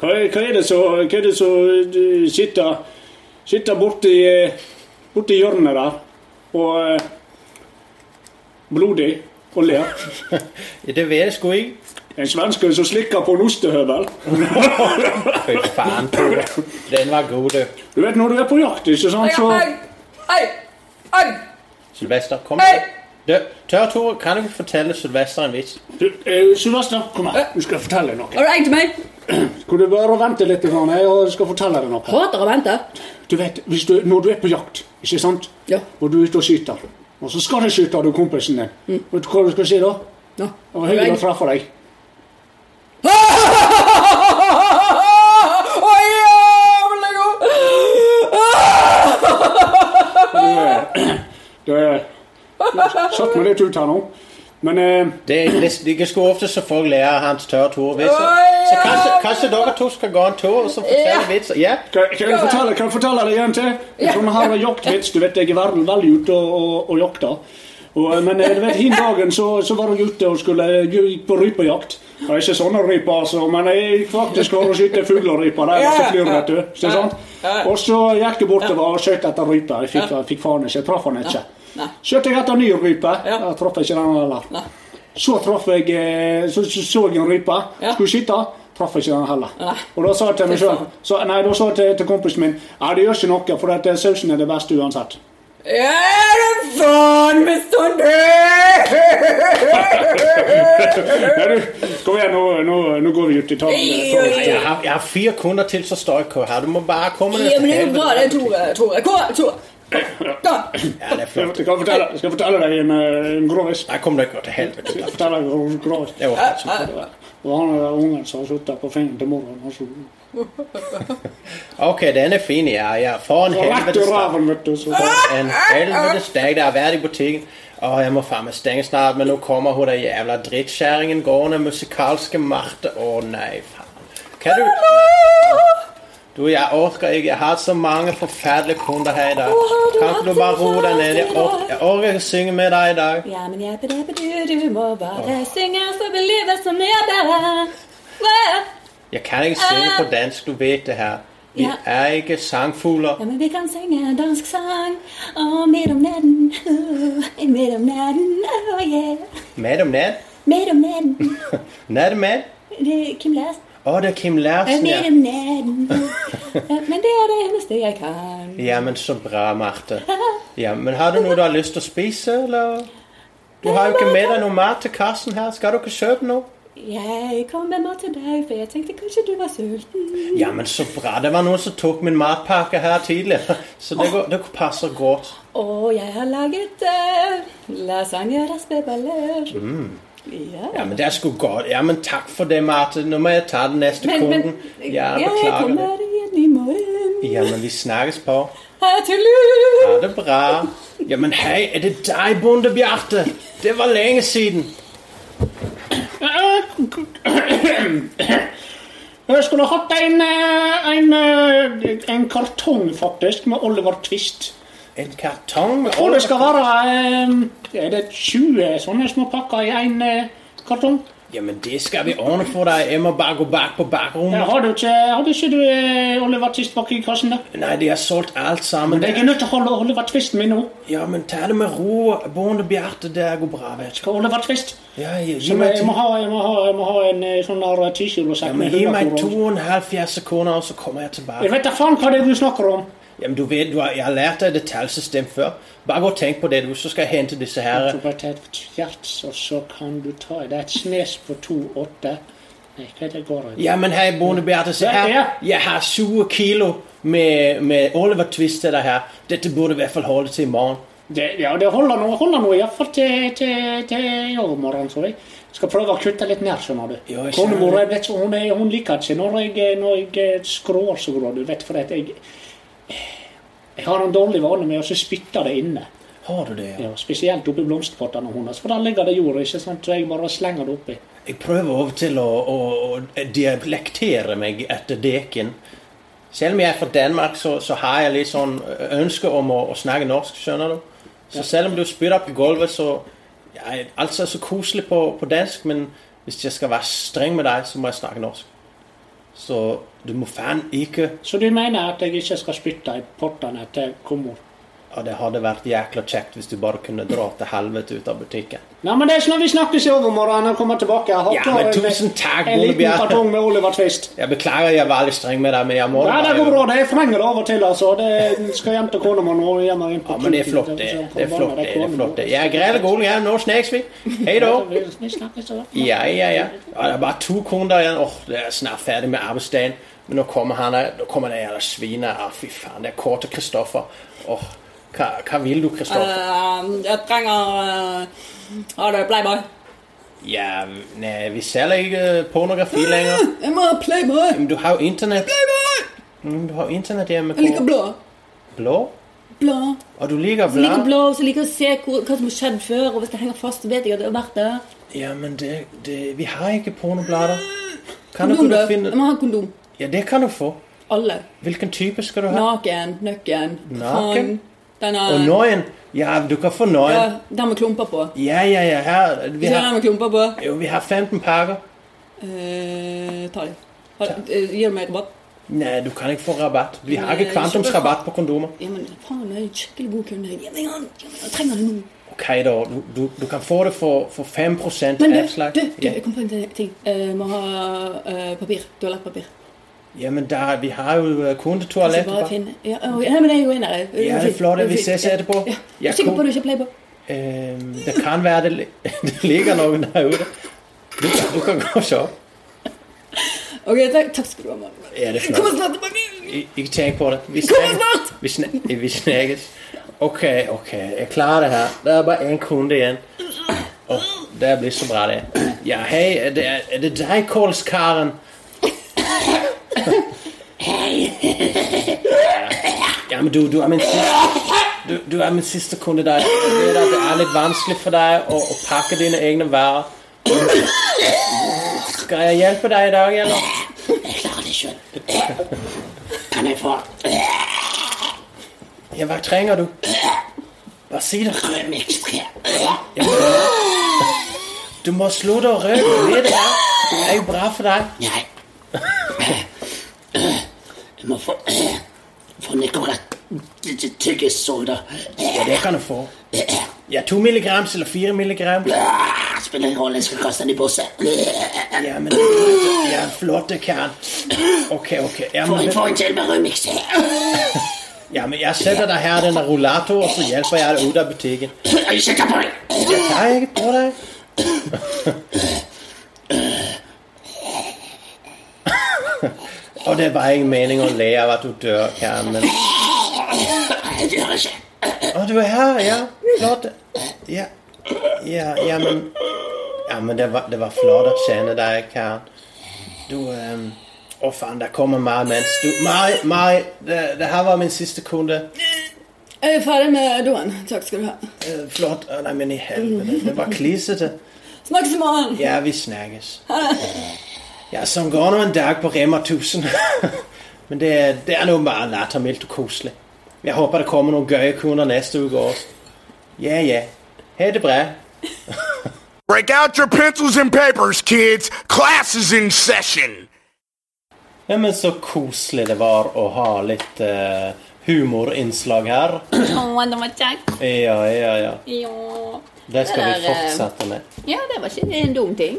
Speaker 3: hva, er- hva er det som Hva er det som eh, sitter Sitter borti eh, Borti hjørnet der og eh, Blodig og ler?
Speaker 1: Det vet jeg sgu ikke.
Speaker 3: En svenske som slikker på en ostehøvel.
Speaker 1: Fy faen, Tore. Den var god, du.
Speaker 3: Du vet når du er på jakt, ikke sant,
Speaker 4: Jeg
Speaker 3: så
Speaker 4: har egg! Egg! Egg!
Speaker 1: Sylvester, kom.
Speaker 4: Hei!
Speaker 1: Du, Tørre Tore, kan du ikke fortelle Sylvester en vits?
Speaker 3: Du, eh, Sylvester, kom her. Du skal fortelle deg noe.
Speaker 4: Har du egg til meg?
Speaker 3: Kan du bare vente litt, grann, jeg og skal fortelle deg noe?
Speaker 4: Hater å vente.
Speaker 3: Du vet, hvis du, Når du er på jakt, ikke sant?
Speaker 4: Ja.
Speaker 3: og du er ute og skyter, og så skal du skyte du kompisen din, vet du hva du skal si da?
Speaker 4: Nå.
Speaker 3: Det var hyggelig å treffe deg.
Speaker 4: Å, jævlig god!
Speaker 3: Det, det satt meg litt ut her nå.
Speaker 5: Men eh,
Speaker 1: Det, det, det skulle ofte selvfølgelig lære hans tørre Tore vitser. Så kanskje, kanskje dere to skal gå en tur og så fortelle vitser? Ja.
Speaker 5: kan, kan, jeg fortelle, kan jeg fortelle deg en til? Jeg tror vi har en jaktvits. Du vet, jeg er verden veldig ute og, og, og jakter. Og, eh, men eh, du vet, hin dagen så, så var jeg ute og skulle eh, gikk på rypejakt. Det er ikke sånne ryper, altså, men jeg gikk faktisk for å skyte fugleryper. Der og så flyr, vet du. Ikke sant? Og så gikk jeg bortover og skjøt etter rype. Jeg fikk, jeg fikk faen ikke. Jeg traff han ikke.
Speaker 6: Nei.
Speaker 5: Skjøt jeg etter ny rype.
Speaker 6: Ja.
Speaker 5: Jeg traff ikke den heller.
Speaker 6: Nei.
Speaker 5: Så traff jeg eh, Så så, så jeg en rype.
Speaker 6: Ja.
Speaker 5: Skulle skyte. Traff ikke den heller.
Speaker 6: Nei.
Speaker 5: Og da sa jeg til meg
Speaker 6: Fy
Speaker 5: selv, så, Nei, da sa jeg til, til kompisen min Nei, det gjør ikke noe, for at eh, sausen er det beste uansett.
Speaker 6: Er det faen bestandig?
Speaker 5: Ja, du, kom igjen, nå, nå, nå går vi ut i talen.
Speaker 1: Nei, Jeg har, jeg har fire kunder til som står i kø her. Du må bare komme deg
Speaker 6: Ja, men det er jo
Speaker 1: helvete.
Speaker 6: bra, det, Tore. Tore, kom, Tore. Kom.
Speaker 1: Ja, det er
Speaker 5: Jeg
Speaker 1: flott.
Speaker 5: skal jeg fortelle, skal jeg fortelle deg en, eh, en grovis.
Speaker 1: Nei, kom dere til helvete.
Speaker 5: Skal jeg fortelle deg en grovis.
Speaker 1: Det var ikke sånn.
Speaker 5: Og han der ungen som har sittet på fingeren til moren og så og
Speaker 1: Ok, den er fin, ja. ja. For en
Speaker 5: Rett i
Speaker 1: helvetes dag.
Speaker 5: ræven, vet du. Så.
Speaker 1: En helvetes dag. Det har vært i butikken. Å, jeg må faen meg stenge snart, men nå kommer hun der jævla drittkjerringen gående. Musikalske Marte. Å nei, faen. Kan du Du, jeg orker ikke. Jeg har så mange forferdelige kunder her i dag. Kan ikke du bare roe deg ned? Jeg orker, jeg orker ikke synge med deg i dag.
Speaker 6: Ja, men jeg bedre du, du må bare synge så blir livet som er bedre. Hva?
Speaker 1: Jeg kan ikke synge på dansk, du vet det her. Vi
Speaker 6: Ja.
Speaker 1: er ikke sangfugler.
Speaker 6: Ja, men vi kan synge dansk sang. Og midt om natten, uh, midt om natten, oh yeah.
Speaker 1: Med om ned.
Speaker 6: Midt om natten,
Speaker 1: Ned med.
Speaker 6: det er Kim Larsen.
Speaker 1: Å, det er Kim Larsen,
Speaker 6: Midt
Speaker 1: ja.
Speaker 6: om natten. Ja, Men det er det eneste jeg kan.
Speaker 1: Ja, men så bra, Marte. Ja, men har du noe du har lyst til å spise, eller? Du har jo ikke med deg noe mat til kassen her. Skal du ikke kjøpe noe?
Speaker 6: Jeg kom med mat til deg, for jeg tenkte kanskje du var sulten.
Speaker 1: Ja, men så bra. Det var noen som tok min matpakke her tidligere. Så det, går, det passer godt.
Speaker 6: Og jeg har laget eh, lasagne og raspeballer.
Speaker 1: Mm.
Speaker 6: Ja.
Speaker 1: Ja, men det skulle godt. Ja, men takk for det, Marte. Nå må jeg ta den neste
Speaker 6: Men, men
Speaker 1: kunden. Ja,
Speaker 6: jeg
Speaker 1: beklager det.
Speaker 6: kommer igjen i morgen.
Speaker 1: Ja, men vi snakkes på.
Speaker 6: Ha til lur.
Speaker 1: Ha det bra. Ja, men hei, er det deg, Bonde Bjarte? Det var lenge siden.
Speaker 5: Jeg skulle hatt en, eh, en, eh, en kartong, faktisk, med Oliver Twist.
Speaker 1: En kartong med
Speaker 5: Og det
Speaker 1: Oliver.
Speaker 5: skal være eh, Er det 20 sånne små pakker i én kartong?
Speaker 1: Ja, men det skal vi ordne for deg. Jeg må bare gå bak på
Speaker 5: Eh,
Speaker 1: bakrommet.
Speaker 5: Har du ikke, hadde ikke du eh, Oliver Twist bak i kassen der?
Speaker 1: Nei, de har solgt alt sammen.
Speaker 5: Jeg er nødt til å holde Oliver Twisten min nå.
Speaker 1: Ja, men ta det med ro, Bonde Bjarte. Det går bra, vet du.
Speaker 5: Skal Oliver Twist.
Speaker 1: Ja, gi
Speaker 5: Så
Speaker 1: meg
Speaker 5: jeg må
Speaker 1: ti-
Speaker 5: ha, jeg må ha, jeg må ha en eh, sånn der
Speaker 1: Ja,
Speaker 5: tikilosekk
Speaker 1: men
Speaker 5: med
Speaker 1: gi meg to
Speaker 5: hundekroner.
Speaker 1: og en halv fjerde sekunder, og så kommer jeg tilbake.
Speaker 5: Jeg vet da faen hva det er du snakker om.
Speaker 1: Jamen, du ved, du har, jeg har lært deg detaljsystem før. Bare gå og tenk på det, du, så skal jeg hente disse her.
Speaker 5: Så bare ta et hjert, og så kan du ta Det er et snes på 2,8. Nei, hva er det går i?
Speaker 1: Ja, men hei, Bonde Beate, se
Speaker 5: Ja, ja.
Speaker 1: her. Jeg har 20 kilo med, med Oliver Twist til deg her. Dette burde i hvert fall holde til i morgen.
Speaker 5: Det, ja, det holder nå, holder nå iallfall til, til, til i overmorgen, tror jeg. Skal prøve å kutte litt ned, skjønner du.
Speaker 1: Ja, jeg skjønner
Speaker 5: Konemor jeg vet, hun, er- hun liker ikke når jeg, når jeg eh, skrår så grå, du vet, for at jeg Jeg har en dårlig vane med å så spytte det inne.
Speaker 1: Har du det? Ja?
Speaker 5: Ja, spesielt oppi blomsterpottene hennes, for der ligger det jord, ikke sant, så jeg bare slenger det oppi.
Speaker 1: Jeg prøver av og til å, å, å dialektere meg etter deken. Selv om jeg er fra Danmark, så, så har jeg litt sånn ø, ønske om å, å snakke norsk, skjønner du. Så selv om du spytter på gulvet, så ja, jeg- Altså, så koselig på, på dansk, men hvis jeg skal være streng med deg, så må jeg snakke norsk. Så du må faen ikke
Speaker 5: Så du mener at jeg ikke skal spytte i pottene til konemor?
Speaker 1: Ja, det hadde vært jækla kjekt hvis du bare kunne dra til helvete ut av butikken.
Speaker 5: Nei, men det er sånn vi snakkes i overmorgen og kommer tilbake. Jeg har
Speaker 1: Ja,
Speaker 5: klar
Speaker 1: men
Speaker 5: en-
Speaker 1: tusen takk,
Speaker 5: En
Speaker 1: Ole
Speaker 5: liten
Speaker 1: Bjerre.
Speaker 5: kartong med Oliver Twist.
Speaker 1: Jeg beklager, jeg var veldig streng med deg, men jeg må
Speaker 5: Nei, det
Speaker 1: bare-
Speaker 5: går bra. Det jeg trenger det av og til, altså. Det skal hjem til kona mi nå. og hjem og inn på
Speaker 1: Ja, men det er
Speaker 5: klubben.
Speaker 1: flott, det. Det er
Speaker 5: så
Speaker 1: flott, det. det er
Speaker 5: kona
Speaker 1: flott,
Speaker 5: vår.
Speaker 1: det. Jeg greier god hjem nå, Sneksvik. Hei da.
Speaker 5: Vi vi snakkes over.
Speaker 1: Ja, ja, ja. ja. Det er bare to kunder igjen. Åh, det er snart ferdig med arbeidsdagen. Men nå kommer han her. Nå kommer det jævla svinet. Ah, fy faen, det er korte Kristoffer. Åh, hva, hva vil du,
Speaker 4: Eh.
Speaker 1: Kristoffer?
Speaker 6: Eh, jeg trenger uh, Har du Playboy?
Speaker 1: Ja, nei, vi selger ikke eh, pornografi lenger.
Speaker 6: Jeg må ha Playboy.
Speaker 1: Men du har jo internett.
Speaker 6: Playboy!
Speaker 1: Mm, Du har jo internett hjemme.
Speaker 6: Jeg liker blå.
Speaker 1: Blå?
Speaker 6: blå.
Speaker 1: Og du liker
Speaker 6: Som liker
Speaker 1: blå?
Speaker 6: blå, som liker å se hvor, hva som har skjedd før. Og hvis det henger fast, så vet jeg at det har vært der.
Speaker 1: Ja, men det, det Vi har ikke pornoblader. Kan
Speaker 6: Kondom,
Speaker 1: du
Speaker 6: da.
Speaker 1: finne
Speaker 6: Jeg må ha kondom.
Speaker 1: Ja, det kan du få.
Speaker 6: Alle.
Speaker 1: Hvilken type skal du ha?
Speaker 6: Naken, nøkken,
Speaker 1: Naken?
Speaker 6: faen. Den
Speaker 1: Og
Speaker 6: er
Speaker 1: nøyen. Ja, du kan få
Speaker 6: ja,
Speaker 1: nøyen.
Speaker 6: Den med klumper på.
Speaker 1: Ja, ja, ja. Her, vi,
Speaker 6: Hvis du har
Speaker 1: har,
Speaker 6: den med klumper på,
Speaker 1: jo, vi har 15 pakker.
Speaker 6: eh, ta dem. Gi dem meg rabatt.
Speaker 1: Nei, du kan ikke få rabatt. Vi har
Speaker 6: Nei,
Speaker 1: ikke kvantumsrabatt på kondomer.
Speaker 6: Ja, men faen, det er en skikkelig god kunde. Gi meg han! Gi meg han, Jeg trenger det nå.
Speaker 1: Ok, da. Du, du, du kan få det for, for 5
Speaker 6: Men du,
Speaker 1: avslag.
Speaker 6: du, du,
Speaker 1: Ja.
Speaker 6: jeg kom på en ting. Eh, må ha eh, papir. Toalettpapir.
Speaker 1: Jamen, der, vi har jo eh,
Speaker 6: Altså,
Speaker 1: kundetoalett.
Speaker 6: bare finne Ja, ok, Nei, men jeg går inn her. jeg.
Speaker 1: Ja,
Speaker 6: var
Speaker 1: det er
Speaker 6: fint,
Speaker 1: flott.
Speaker 6: det var
Speaker 1: Vi
Speaker 6: fint.
Speaker 1: ses
Speaker 6: Ja.
Speaker 1: etterpå.
Speaker 6: Ja.
Speaker 1: Ja,
Speaker 6: Jeg er sikker på
Speaker 1: cool.
Speaker 6: at du ikke er playboy.
Speaker 1: Øhm, det kan være det, li- det ligger noen der ute. Du, kan- du kan gå og se.
Speaker 6: Ok, takk, takk skal du ha, mann.
Speaker 1: Ja, det er
Speaker 6: Kom og
Speaker 1: flott.
Speaker 6: snart tilbake!
Speaker 1: I- Ikke tenk på det. Vi
Speaker 6: Kom og
Speaker 1: snakkes.
Speaker 6: snart!
Speaker 1: Vi, sn vi snakkes. Ok, ok. Jeg klarer det her. Det er bare én kunde igjen. Åh, det blir så bra, det. Ja, eh, hei. Er det, er det deg, Kolskaren? Ja, men du, du er min siste du, du er min siste kunde der. Jeg vet at det er litt vanskelig for deg å, å pakke dine egne varer. Skal jeg hjelpe deg i dag, eller?
Speaker 7: Eh, Kan jeg få eh,
Speaker 1: Ja, hva trenger du? Bare si det.
Speaker 7: remix 3?
Speaker 1: Du må slutte å røyke. Du vet det her. Det er jo bra for deg.
Speaker 7: Nei. Eh, Jeg må få eh, Få Nicorette tyggesoda. Eh,
Speaker 1: Ja, det kan du få. Ja, to milligrams eller fire milligram.
Speaker 7: ah, Spiller ingen rolle, jeg skal kaste den i Eh, bosset.
Speaker 1: Ja, men det er greit. Ja, flott, det kan. Ok, ok. Ja,
Speaker 7: Få
Speaker 1: men,
Speaker 7: en- Få en til med remix. Eh,
Speaker 1: ja, men jeg setter deg her i denne rollator, og så hjelper jeg deg ut av butikken.
Speaker 7: Ikke ta på deg! Eh,
Speaker 1: Nei, ikke på deg. Og det var ikke meningen å le av at du dør, Karen, men
Speaker 7: Jeg dør ikke.
Speaker 1: Å, du er her, ja. Flott. Ja, ja, ja men Ja, men det var, det var flott å kjenne deg, Karen. Du ehm, Å, faen, der kommer Mai mens du Mai, Mai, det, det her var min siste kunde.
Speaker 6: Jeg er ferdig med doen. Takk skal du ha.
Speaker 1: Eh, Flott. Å, Nei, men i helvete. Det var klisete.
Speaker 6: Snakkes i morgen!
Speaker 1: Ja, vi snakkes. Ja, som går nå en dag på Rema 1000. Men det, det er noe bare lattermildt og koselig. Jeg håper det kommer noen gøye kunder neste uke også. Ja, ja. Ha det bra.
Speaker 8: Break out your pencils and papers, kids. Class is in session.
Speaker 1: Ja, men så koselig det var å ha litt eh, humorinnslag her.
Speaker 4: Å, det var kjekt.
Speaker 1: Ja, ja, ja.
Speaker 4: Ja.
Speaker 1: Det skal
Speaker 2: Det
Speaker 1: vi
Speaker 2: der, eh,
Speaker 1: fortsette med.
Speaker 2: Ja, det var ikke en dum ting.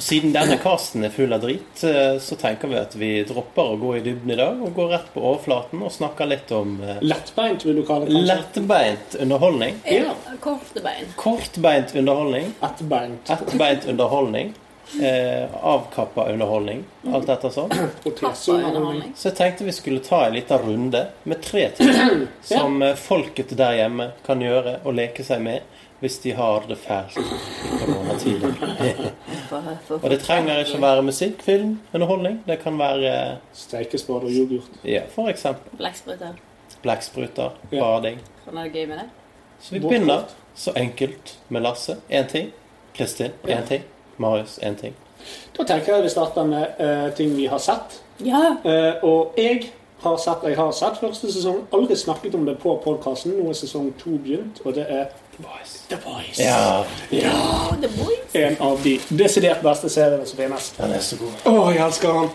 Speaker 1: Og siden denne casten er full av drit, eh, så tenker vi at vi dropper å gå i dybden i dag, og går rett på overflaten og snakker litt om eh,
Speaker 5: Lettbeint, vil du kalle det. kanskje.
Speaker 1: lettbeint underholdning.
Speaker 2: Ja. Korte bein.
Speaker 1: Kortbeint underholdning,
Speaker 5: Lettbeint.
Speaker 1: ettbeint underholdning, eh, avkappa underholdning, alt dette sånn.
Speaker 5: Potetunderholdning.
Speaker 1: Så jeg tenkte vi skulle ta en liten runde med tre ting som eh, folket der hjemme kan gjøre og leke seg med hvis de har det fælt i koronatiden. Og det trenger ikke å være musikk, film, underholdning. Det kan være
Speaker 5: Steikespade og yoghurt.
Speaker 1: ja, for eksempel
Speaker 2: Blekkspruter.
Speaker 1: blekkspruter,
Speaker 5: Ja.
Speaker 1: bading.
Speaker 2: Kan ha det gøy med det?
Speaker 1: Så vi begynner så enkelt med Lasse. Én ting. Kristin. Én ting. Marius. Én ting.
Speaker 5: Da tenker jeg vi starter med eh, ting vi har sett.
Speaker 6: Ja.
Speaker 5: Eh, og jeg har sett jeg har sett første sesong. Aldri snakket om det på podkasten. Nå er sesong to begynt, og det er The Voice.
Speaker 1: Ja,
Speaker 5: En av de desidert beste seriene som finnes.
Speaker 1: den er så god.
Speaker 5: Å, jeg elsker han!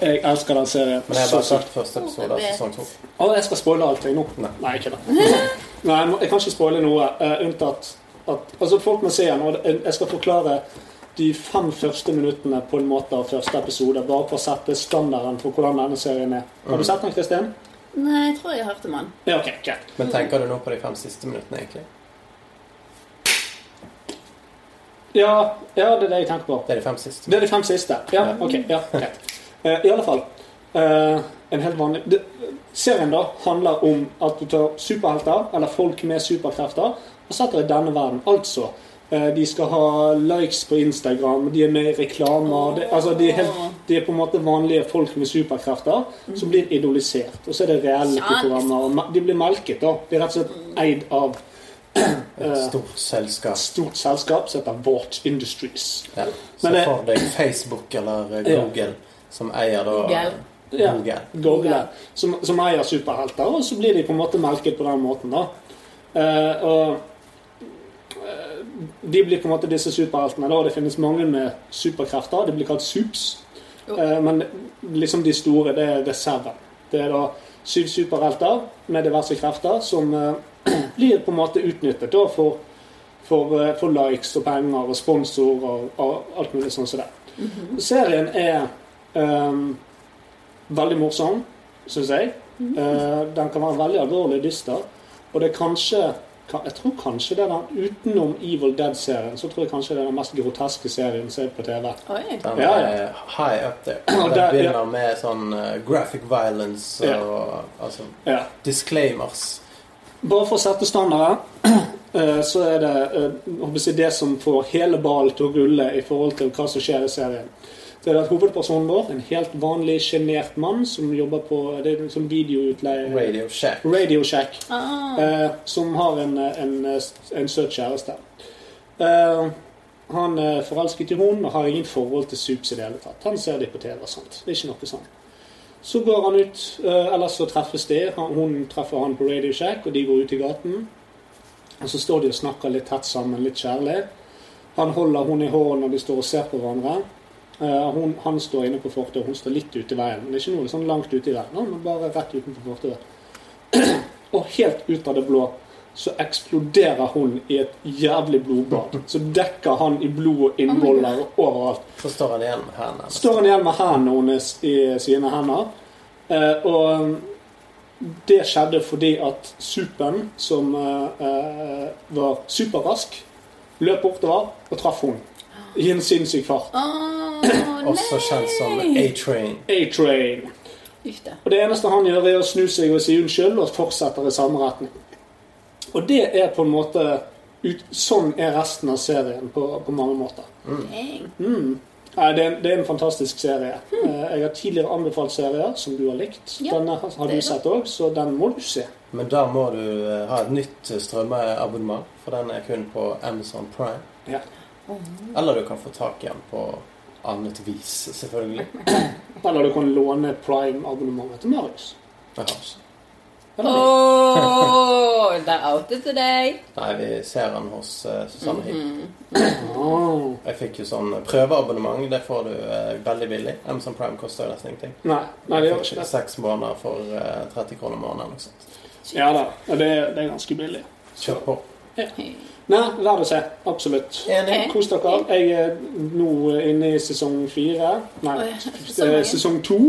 Speaker 5: Jeg elsker den serien.
Speaker 1: Men jeg har
Speaker 5: så
Speaker 1: bare
Speaker 5: sykt.
Speaker 1: sett første episode av sesong to.
Speaker 5: Å, jeg skal spoile alt jeg nå. Nei, ikke det. Nei, jeg, må, jeg kan ikke spoile noe eh, unntatt at Altså, folk må se den, og jeg jeg skal forklare de fem første minuttene på en måte av første episode, bare for å sette standarden for hvordan denne serien er. Har du sett den, Kristin?
Speaker 2: Nei, jeg tror jeg hørte om han.
Speaker 5: Mm. Ja, ok, greit.
Speaker 1: Men tenker du nå på de fem siste minuttene, egentlig?
Speaker 5: Ja, ja, det er det jeg tenker på.
Speaker 1: Det er de fem siste.
Speaker 5: Det er de fem siste. Ja, ok. ja, greit. Eh, I alle fall eh, En helt vanlig det, Serien da handler om at du tar superhelter, eller folk med superkrefter, og setter i denne verden. Altså eh, De skal ha likes på Instagram, de er med i reklamer det, Altså, de er helt Det er på en måte vanlige folk med superkrefter som blir idolisert. Og så er det reality-programmer. og ma- De blir melket, da. De er rett og slett eid av
Speaker 9: Et stort selskap.
Speaker 5: et stort selskap som heter Vårt Industries.
Speaker 9: Ja. Så
Speaker 5: Men det-
Speaker 9: for deg Facebook eller eh,
Speaker 5: Ja.
Speaker 9: Google, som eier da
Speaker 2: Google.
Speaker 5: Ja,
Speaker 9: Google.
Speaker 5: Google. Som, som eier superhelter, og så blir de på en måte melket på den måten, da. Eh, og eh, de blir på en måte disse superheltene, da. og Det finnes mange med superkrefter. Det blir kalt sups. Eh, men liksom de store, det er The Seven. Det er da syv superhelter med diverse krefter som eh, blir på en måte utnyttet da for for, eh, for likes og penger og sponsorer og, og alt mulig sånn som det. Serien er ehm, Veldig morsom, syns jeg. Eh, den kan være veldig alvorlig dyster. Og det er kanskje ka- Jeg tror kanskje det er den utenom Evil Dead-serien, så tror jeg kanskje det er den mest groteske serien som er på TV.
Speaker 2: Oi.
Speaker 9: Den
Speaker 5: Ja, ja.
Speaker 9: er high up there.
Speaker 5: Og
Speaker 9: Den
Speaker 5: der-
Speaker 9: begynner
Speaker 5: ja.
Speaker 9: med sånn eh, graphic violence
Speaker 5: Ja.
Speaker 9: og altså,
Speaker 5: Ja.
Speaker 9: disclaimers.
Speaker 5: Bare for å sette standarden, eh, så er det eh, håper jeg, å si, det som får hele ballen til å rulle i forhold til hva som skjer i serien. Så er det at Hovedpersonen vår, en helt vanlig sjenert mann som jobber på det er som videoutleie...
Speaker 9: Radio Shack.
Speaker 5: Radio Shack.
Speaker 2: Ah.
Speaker 5: Eh, som har en, en, en søt kjæreste. Eh, han er forelsket i henne og har ingen forhold til Supes i det hele tatt. Han ser de på TV og sånt. Det er ikke noe sånn. Så går han ut, eh, eller så treffes de. Han- Hun treffer han på Radio Shack, og de går ut i gaten. Og så står de og snakker litt tett sammen, litt kjærlig. Han holder hun i hånden når de står og ser på hverandre. Eh, hun, han står inne på fortet, og hun står litt ute i veien. Men det er ikke noe sånn langt ute i veien, men bare rett utenfor fortet. Og helt ut av det blå så eksploderer hun i et jævlig blodbad. Så dekker han i blod og innvoller og overalt.
Speaker 9: Så står han igjen med hendene.
Speaker 5: Står han igjen med hendene hennes i sine hender. Eh, og det skjedde fordi at Supen, som eh, eh, var superrask, løp bortover og traff henne i en sinnssyk fart.
Speaker 2: Ah. Å,
Speaker 9: Også kjent som A-Train.
Speaker 5: A-Train.
Speaker 2: Uff da.
Speaker 5: Og det eneste han gjør, er å snu seg og si unnskyld, og fortsetter i samme retning. Og det er på en måte ut, Sånn er resten av serien på, på mange måter.
Speaker 2: Dang.
Speaker 5: Nei, det, er en, det er en fantastisk serie. Eh, Jeg har tidligere anbefalt serier som du har likt.
Speaker 2: Hmm. Ja,
Speaker 5: Denne har- har
Speaker 2: det er
Speaker 5: du sett òg, så den må du se.
Speaker 9: Men da må du eh, ha et nytt strømmeabonnement, for den er kun på Amazon Prime.
Speaker 5: Ja.
Speaker 9: Eller du kan få tak i den på annet vis, selvfølgelig.
Speaker 5: Eller du kan låne prime-abonnementet til Marius.
Speaker 9: Jeg har ikke.
Speaker 2: Åh, det er outet til deg.
Speaker 9: Nei, vi ser den hos eh, Susanne Higg. Mm-hmm.
Speaker 5: Ah.
Speaker 9: Jeg fikk jo sånn prøveabonnement. Det får du eh, veldig billig. Amazon Prime koster jo nesten ingenting.
Speaker 5: Nei, nei, det gjør ikke det.
Speaker 9: Seks måneder for eh, 30 kroner måneden. Liksom.
Speaker 5: Ja da. ja, Det, er- det er ganske billig.
Speaker 9: Kjør på.
Speaker 5: Nei, vær det å se. Absolutt.
Speaker 9: Enig.
Speaker 5: Kos dere. Jeg er nå inne i sesong fire. Nei,
Speaker 2: Oi, så
Speaker 5: eh,
Speaker 2: mange.
Speaker 5: sesong to,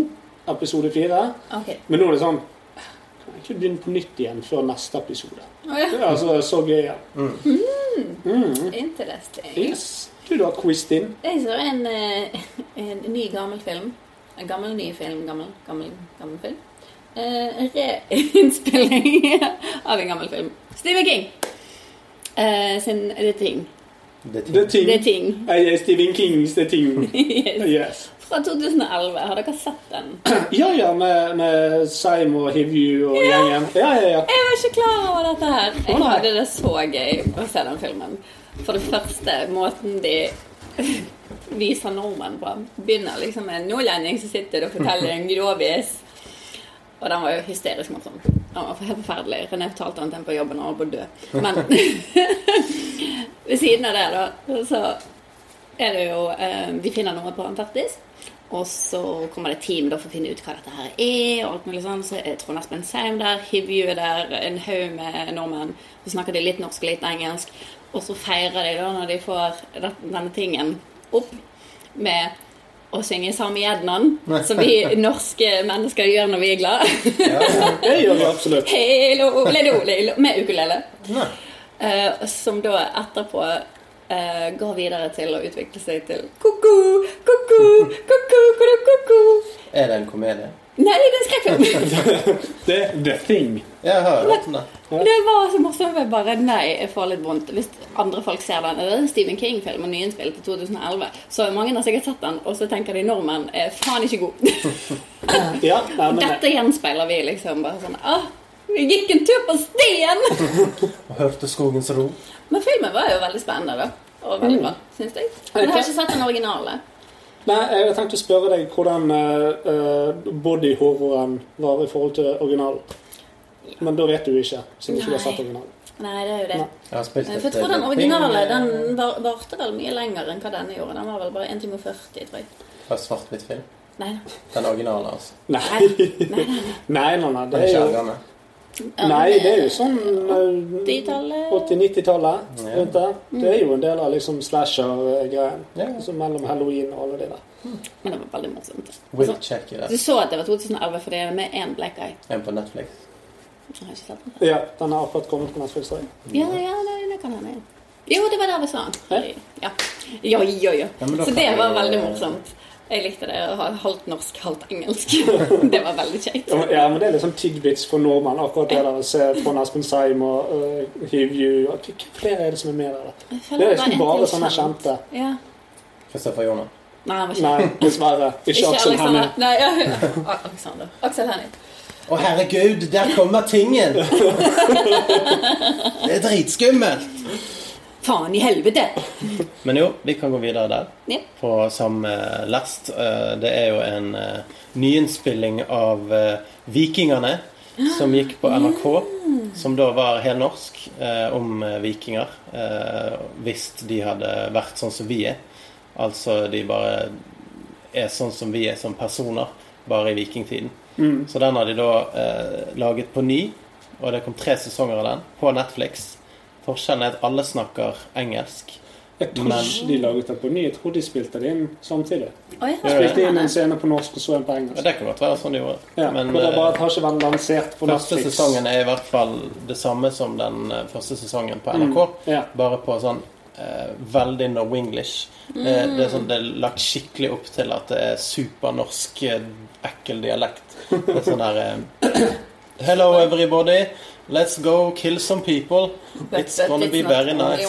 Speaker 5: episode fire.
Speaker 2: Ok.
Speaker 5: Men nå er det sånn Kan jeg ikke begynne på nytt igjen før neste episode?
Speaker 2: Å ja.
Speaker 5: Det er Altså, så gøy. Ja.
Speaker 2: Mm. Interesting.
Speaker 5: Yes. Du, du har quizet inn.
Speaker 2: Jeg så en, eh, en ny, gammel film. En gammel, ny film. Gammel, gammel, gammel film. Eh, en Reinnspilling av en gammel film. Stephen King eh, sin The Ting.
Speaker 9: Det er
Speaker 5: Det er
Speaker 9: ting.
Speaker 5: ting.
Speaker 2: The Ting.
Speaker 5: Jeg er Stephen Kings The Ting.
Speaker 2: Yes.
Speaker 5: Yes.
Speaker 2: Fra 2011. Har dere sett den?
Speaker 5: Ja ja, med, med Seim og Hivju og gjengen. Ja ja ja.
Speaker 2: Jeg var ikke klar over dette her. Jeg
Speaker 5: nei.
Speaker 2: hadde det så gøy å se den filmen. For det første, måten de viser nordmenn på. Begynner liksom med en nordlending som sitter og forteller en grovis. Og den var jo hysterisk morsom. Den var helt forferdelig. René fortalte han til en på jobben og han var på å dø. Men ved siden av det, da, så er det jo eh, De finner noe på Antarktis. Og så kommer det et team da, for å finne ut hva dette her er. og alt mulig sånn. Så er Trond Espen Seim der, Hivju er der, en haug med nordmenn. Så snakker de litt norsk og litt engelsk. Og så feirer de da når de får det- denne tingen opp med å synge Samjednan, som vi norske mennesker gjør når vi er glade.
Speaker 5: Det gjør vi absolutt.
Speaker 2: Hello, lelo, lelo, med ukulele.
Speaker 9: Nei.
Speaker 2: Eh, som da etterpå eh, går videre til å utvikle seg til ko-ko, ko-ko, ko-ko, ko-ko, ko-ko.
Speaker 1: Er det en komedie?
Speaker 4: Nei, det er en skrekkfilm.
Speaker 5: Det er The Thing.
Speaker 1: Ja, jeg har jo hørt om det.
Speaker 2: Det var så morsomt. Jeg bare Nei, jeg får litt vondt hvis andre folk ser den. Det er en Stephen King-film og nyinnspilt i 2011. Så mange har sikkert sett den, og så tenker de nordmenn er faen ikke god.
Speaker 5: Ja, nei, men
Speaker 2: Dette gjenspeiler vi liksom bare sånn Åh, vi gikk en tur på stien!
Speaker 9: Og hørte skogens ro.
Speaker 2: Men filmen var jo veldig spennende, da. Og veldig bra, syns jeg. Men jeg har ikke sett den originale.
Speaker 5: Nei, jeg tenkte å spørre deg hvordan eh, eh, bodyhorroren var i forhold til originalen. Men da vet du ikke, siden du ikke har sett
Speaker 2: Nei.
Speaker 5: originalen.
Speaker 2: Nei, det er jo det.
Speaker 9: Jeg har spilt
Speaker 2: For
Speaker 9: et
Speaker 2: jeg tror den
Speaker 9: eh,
Speaker 2: originale
Speaker 9: ping-
Speaker 2: den var- varte vel mye lenger enn hva denne gjorde. Den var vel bare 1 time og 40, tror jeg.
Speaker 9: fra svart-hvitt film.
Speaker 2: Nei da.
Speaker 9: Den originale, altså.
Speaker 5: Nei,
Speaker 2: Nei, nei, nei.
Speaker 5: nei, nei. nei det
Speaker 9: Den
Speaker 5: er jo
Speaker 9: skjærgående.
Speaker 5: Nei, det er jo sånn eh,
Speaker 2: 80-tallet.
Speaker 5: 80-90-tallet.
Speaker 9: Ja.
Speaker 5: rundt der.
Speaker 2: Mm.
Speaker 5: Det er jo en del av liksom slasher-greien.
Speaker 9: Ja.
Speaker 5: Altså mellom halloween og alle de der.
Speaker 2: Men det var veldig morsomt.
Speaker 9: Will
Speaker 2: Altså,
Speaker 9: check it
Speaker 2: du
Speaker 9: out.
Speaker 2: så at det var 2011 fordi det er med én black eye.
Speaker 9: En på Netflix.
Speaker 2: Jeg har ikke sett den.
Speaker 5: Ja, den har akkurat kommet på Netflix. tror jeg.
Speaker 2: Ja, ja, det, det kan hende. Jo, det var der vi sa
Speaker 5: Hæ?
Speaker 2: den. Ja. Ja, ja, ja.
Speaker 9: Ja, men da
Speaker 2: Så
Speaker 9: kan
Speaker 2: det
Speaker 9: jeg-
Speaker 2: var veldig morsomt. Jeg likte det. å ha Halvt norsk, halvt engelsk. Det var veldig kjekt.
Speaker 5: Ja, men- Ja, men det er liksom tidbits for nordmenn. Akkurat det der å se Trond Espen Seim og uh, Hiv You og Hvem flere er det som er med der? da?
Speaker 2: Jeg føler
Speaker 5: Det er
Speaker 2: var
Speaker 5: liksom bare
Speaker 2: etter
Speaker 5: sånne
Speaker 2: kjent.
Speaker 5: kjente.
Speaker 2: Ja.
Speaker 9: Christopher Joner.
Speaker 2: Nei, han var ikke
Speaker 5: Nei, dessverre. Ikke
Speaker 2: Ikke
Speaker 5: Aksel Hennie.
Speaker 2: Alexander. Nei, ja, ja. Alexander. Aksel Hennie.
Speaker 1: Å, herregud, der kommer tingen! Det er dritskummelt!
Speaker 2: Faen i helvete!
Speaker 1: Men jo, vi kan gå videre der.
Speaker 2: Ja.
Speaker 1: På samme last. Eh, Det er jo en eh, nyinnspilling av eh, Vikingene, som gikk på NRK. Som da var helnorsk, eh, om eh, vikinger. eh, Hvis de hadde vært sånn som vi er. Altså de bare er sånn som vi er som personer, bare i vikingtiden. Så den har de da eh, laget på ny, og det kom tre sesonger av den på Netflix. Forskjellen er at alle snakker engelsk.
Speaker 5: Jeg tror
Speaker 1: Men-
Speaker 5: ikke de laget det på ny. Jeg tror de spilte det inn samtidig.
Speaker 2: Oi, her
Speaker 1: Ja,
Speaker 2: var
Speaker 5: Spilte inn
Speaker 2: han.
Speaker 5: en scene på norsk og så en på
Speaker 1: Ja,
Speaker 5: engelsk.
Speaker 1: det kan godt være sånn de gjorde.
Speaker 5: Ja,
Speaker 1: Men
Speaker 5: men det er bare at
Speaker 1: eh,
Speaker 5: har ikke vært lansert på
Speaker 1: første
Speaker 5: Netflix.
Speaker 1: sesongen er i hvert fall det samme som den eh, første sesongen på
Speaker 5: Mm.
Speaker 1: NRK.
Speaker 5: Ja.
Speaker 1: Bare på sånn eh, veldig Norwenglish. Eh, det, er sånn, det er lagt skikkelig opp til at det er supernorsk, eh, ekkel dialekt. Det er sånn her eh, Hello everybody, let's go kill some people. It's gonna be very nice.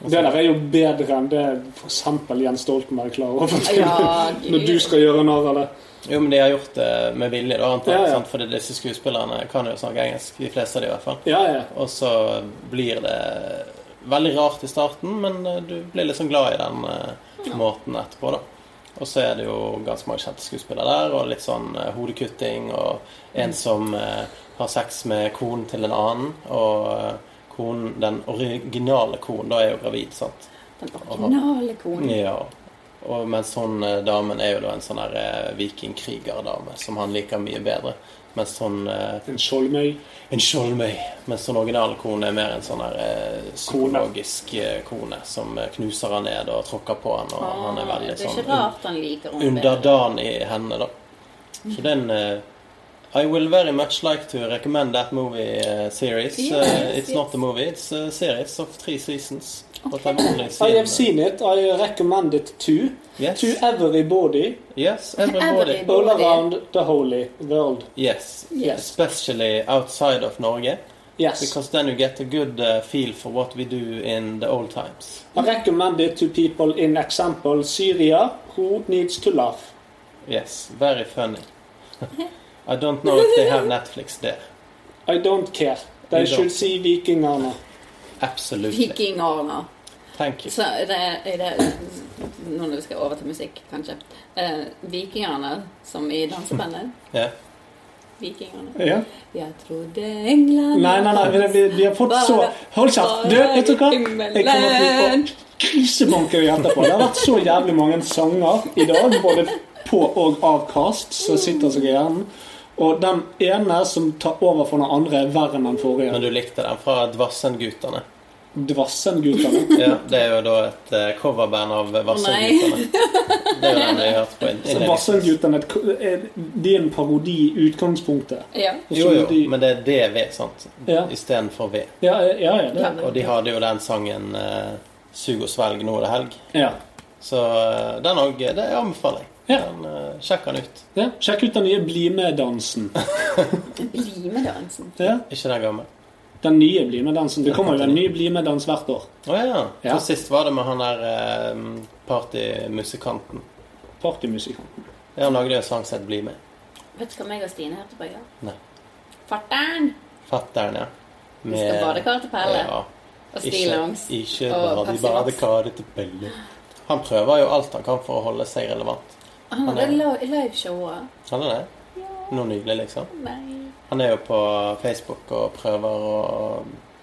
Speaker 5: Det der er jo bedre enn det for eksempel Jens Stoltenberg klarer å fortelle.
Speaker 2: Ja,
Speaker 5: Når du skal gjøre narr av det.
Speaker 1: Jo, men de har gjort det med vilje, da, antar jeg.
Speaker 5: Ja, ja.
Speaker 1: sant? Fordi disse skuespillerne kan jo snakke engelsk. De fleste av de i hvert fall.
Speaker 5: Ja, ja.
Speaker 1: Og så blir det veldig rart i starten, men eh, du blir liksom glad i den eh, måten etterpå, da. Og så er det jo ganske mange kjente skuespillere der, og litt sånn eh, hodekutting, og en som eh, har sex med konen til en annen, og eh, konen, den originale konen, da er jo gravid, sant.
Speaker 2: Den originale konen.
Speaker 1: Ja. Og mens hun eh, damen er jo da en sånn her eh, vikingkrigerdame, som han liker mye bedre. Mens hun eh,
Speaker 5: En skjoldmøy.
Speaker 1: en skjoldmøy. Mens den originale kone sånn er mer en sånn her eh, psykologisk eh, kone som eh, knuser han ned og tråkker på han, og han er veldig
Speaker 2: Ah, det er ikke
Speaker 1: sånn un
Speaker 2: rart han liker henne bedre.
Speaker 1: underdanig i henne, da. Så den eh, I will very much like to recommend that movie eh, series.
Speaker 2: Yes,
Speaker 1: Eh, it's
Speaker 2: yes.
Speaker 1: not a movie, it's a series of three seasons. But
Speaker 2: Okay.
Speaker 1: I've only
Speaker 5: I have
Speaker 1: seen
Speaker 5: seen it. I recommend it to.
Speaker 1: Yes,
Speaker 5: To everybody.
Speaker 1: yes, everybody.
Speaker 2: Everybody.
Speaker 5: All around the holy world.
Speaker 1: Yes,
Speaker 5: Yes.
Speaker 1: especially outside of Norge.
Speaker 5: Yes.
Speaker 1: Because then you get a good eh, feel for what we do in the old times.
Speaker 5: I recommend it to people in example Syria who needs to laugh.
Speaker 1: Yes, very funny. I don't know if they have Netflix there.
Speaker 5: I don't care. They
Speaker 1: You
Speaker 5: should
Speaker 1: don't.
Speaker 5: see vikingerne.
Speaker 1: Absolutely.
Speaker 2: Vikingårene.
Speaker 1: Thank you.
Speaker 2: Så er det, er det Nå når vi skal over til musikk, kanskje. Eh, vikingene, som i dansebandet.
Speaker 1: Ja.
Speaker 2: Vikingene.
Speaker 5: Ja.
Speaker 2: Jeg trodde England
Speaker 5: Nei, nei, nei, vi, vi, vi har fått så Hold kjeft! Du, vet du hva? Jeg kommer til å
Speaker 2: Himmelen.
Speaker 5: få krisebanker i etterpå. Det har vært så jævlig mange sanger i dag, både på og av Cast, som sitter seg i hjernen. Og den ene som tar over for den andre, er verre enn den
Speaker 1: Men
Speaker 5: forrige.
Speaker 1: du likte den fra Dvassendgutane.
Speaker 5: Dvassen-guttene.
Speaker 1: Ja, det er jo da et eh, coverband av Vassendgutane. Det er jo den vi har hørt på inn- innledningsvis.
Speaker 5: Dvassen-guttene er- de er en parodi i utgangspunktet.
Speaker 2: Ja.
Speaker 1: Jo, jo, men det er DV, sant?
Speaker 5: Ja.
Speaker 1: Istedenfor V.
Speaker 5: Ja, ja, ja, det.
Speaker 1: Og de hadde jo den sangen eh, 'Sug og svelg, nå er det helg'.
Speaker 5: ja.
Speaker 1: Så eh, den òg Det anbefaler jeg.
Speaker 5: Ja.
Speaker 1: Men eh, sjekk den ut.
Speaker 5: Ja, sjekk ut den nye Bli med-dansen.
Speaker 2: Bli med dansen.
Speaker 5: Ja.
Speaker 1: Ikke den gamle.
Speaker 5: Den nye Bli med-dansen. Det kommer jo en ny Bli med-dans hvert år.
Speaker 1: Å ja.
Speaker 5: Ja.
Speaker 1: Så sist var det med han der eh, partymusikanten.
Speaker 5: Partymusikanten.
Speaker 1: Ja, Han lagde jo en sang som het 'Bli med'.
Speaker 2: Vet du hva meg og Stine hørte på i går?
Speaker 1: Nei.
Speaker 2: Fatter'n!
Speaker 1: Fatter'n, ja.
Speaker 2: Vi skal badekar til Pelle.
Speaker 1: Ja.
Speaker 2: Og
Speaker 1: Ikke,
Speaker 2: stillongs.
Speaker 1: ikke
Speaker 2: og
Speaker 1: bad i
Speaker 2: Pepsi Max.
Speaker 1: badekaret til Pelle. Han prøver jo alt han kan for å holde seg relevant.
Speaker 2: Han hadde li- liveshowet.
Speaker 1: Han er det? Noe nydelig, liksom.
Speaker 2: Nei.
Speaker 1: Han er jo på Facebook og prøver å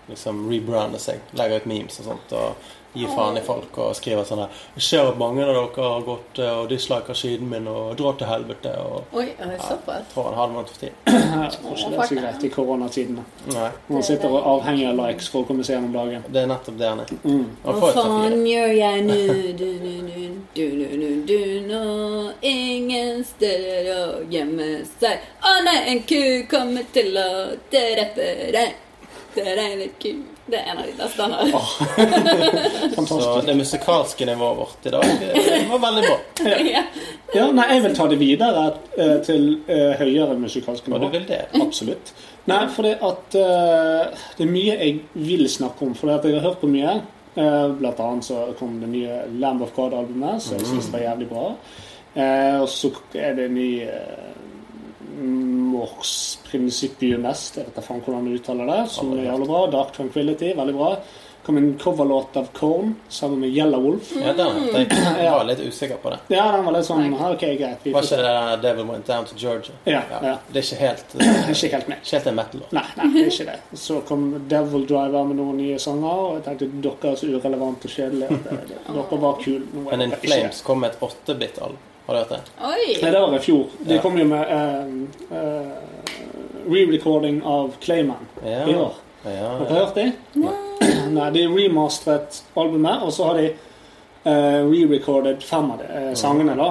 Speaker 1: liksom rebrande seg. Legger ut memes og sånt og gir faen i folk og skriver sånn her Jeg ser at mange av dere har gått eh, og disliker siden min og drar til helvete og
Speaker 2: Oi, er det såpass?
Speaker 1: Jeg tror han har det vondt for tiden.
Speaker 5: Jeg tror ikke det er så greit i koronatidene.
Speaker 1: Nei.
Speaker 5: Når man sitter og avhenger av likes for å komme seg gjennom dagen. Mm.
Speaker 1: Det er nettopp det han er. Han
Speaker 2: Hva
Speaker 1: får et
Speaker 2: faen
Speaker 1: papir.
Speaker 2: gjør jeg nå? Du, du, du, du, du, du, du, nå Ingen steder å gjemme seg. Å nei, en ku kommer til å drepe deg. Det regner ku. Det er en av de beste han har.
Speaker 1: Så
Speaker 5: Fantastisk.
Speaker 1: det musikalske nivået vårt i dag eh, var veldig bra.
Speaker 2: Ja.
Speaker 5: Ja, nei, jeg vil ta det videre eh, til eh, høyere musikalsk
Speaker 1: Og du
Speaker 5: nivå.
Speaker 1: vil det?
Speaker 5: Absolutt. Nei, for det at eh, Det er mye jeg vil snakke om, for det at jeg har hørt på mye. Eh, blant annet så kom det nye Lamb of God-albumet, som jeg syns var jævlig bra. Eh, og så er det en ny eh, Mors Principium Est, jeg vet da faen hvordan du uttaler det, som er jævlig bra. Dark Tranquility, veldig bra. Kom en coverlåt av Korn sammen med Yellow Wolf.
Speaker 1: Ja, det har jeg.
Speaker 5: Mm.
Speaker 1: Jeg var litt usikker på det.
Speaker 5: Ja, den var litt sånn OK, greit. Vi
Speaker 1: Var ikke det der Devil Went Down to Georgia?
Speaker 5: Ja, ja.
Speaker 1: Det er ikke helt, eh,
Speaker 5: ikke helt med.
Speaker 1: ikke helt en metal-låt.
Speaker 5: Nei, nei, det er ikke det. Så kom Devil Driver med noen nye sanger, og jeg tenkte dere er så urelevante og kjedelige. at, eh, Dere var kule. Nå er
Speaker 1: Men In
Speaker 5: dere ikke
Speaker 1: Flames
Speaker 5: det.
Speaker 1: kom med et 8-bit-album. Har du hørt det?
Speaker 5: Nei,
Speaker 2: Oi!
Speaker 5: det var i fjor. De
Speaker 1: Ja.
Speaker 5: kom jo med eh, eh, re-recording av Clayman
Speaker 1: Ja.
Speaker 5: i år.
Speaker 1: Ja, ja.
Speaker 5: Har dere hørt det? Nei, de remasteret albumet, og så har de eh, re-recorded fem av de, eh, sangene. da.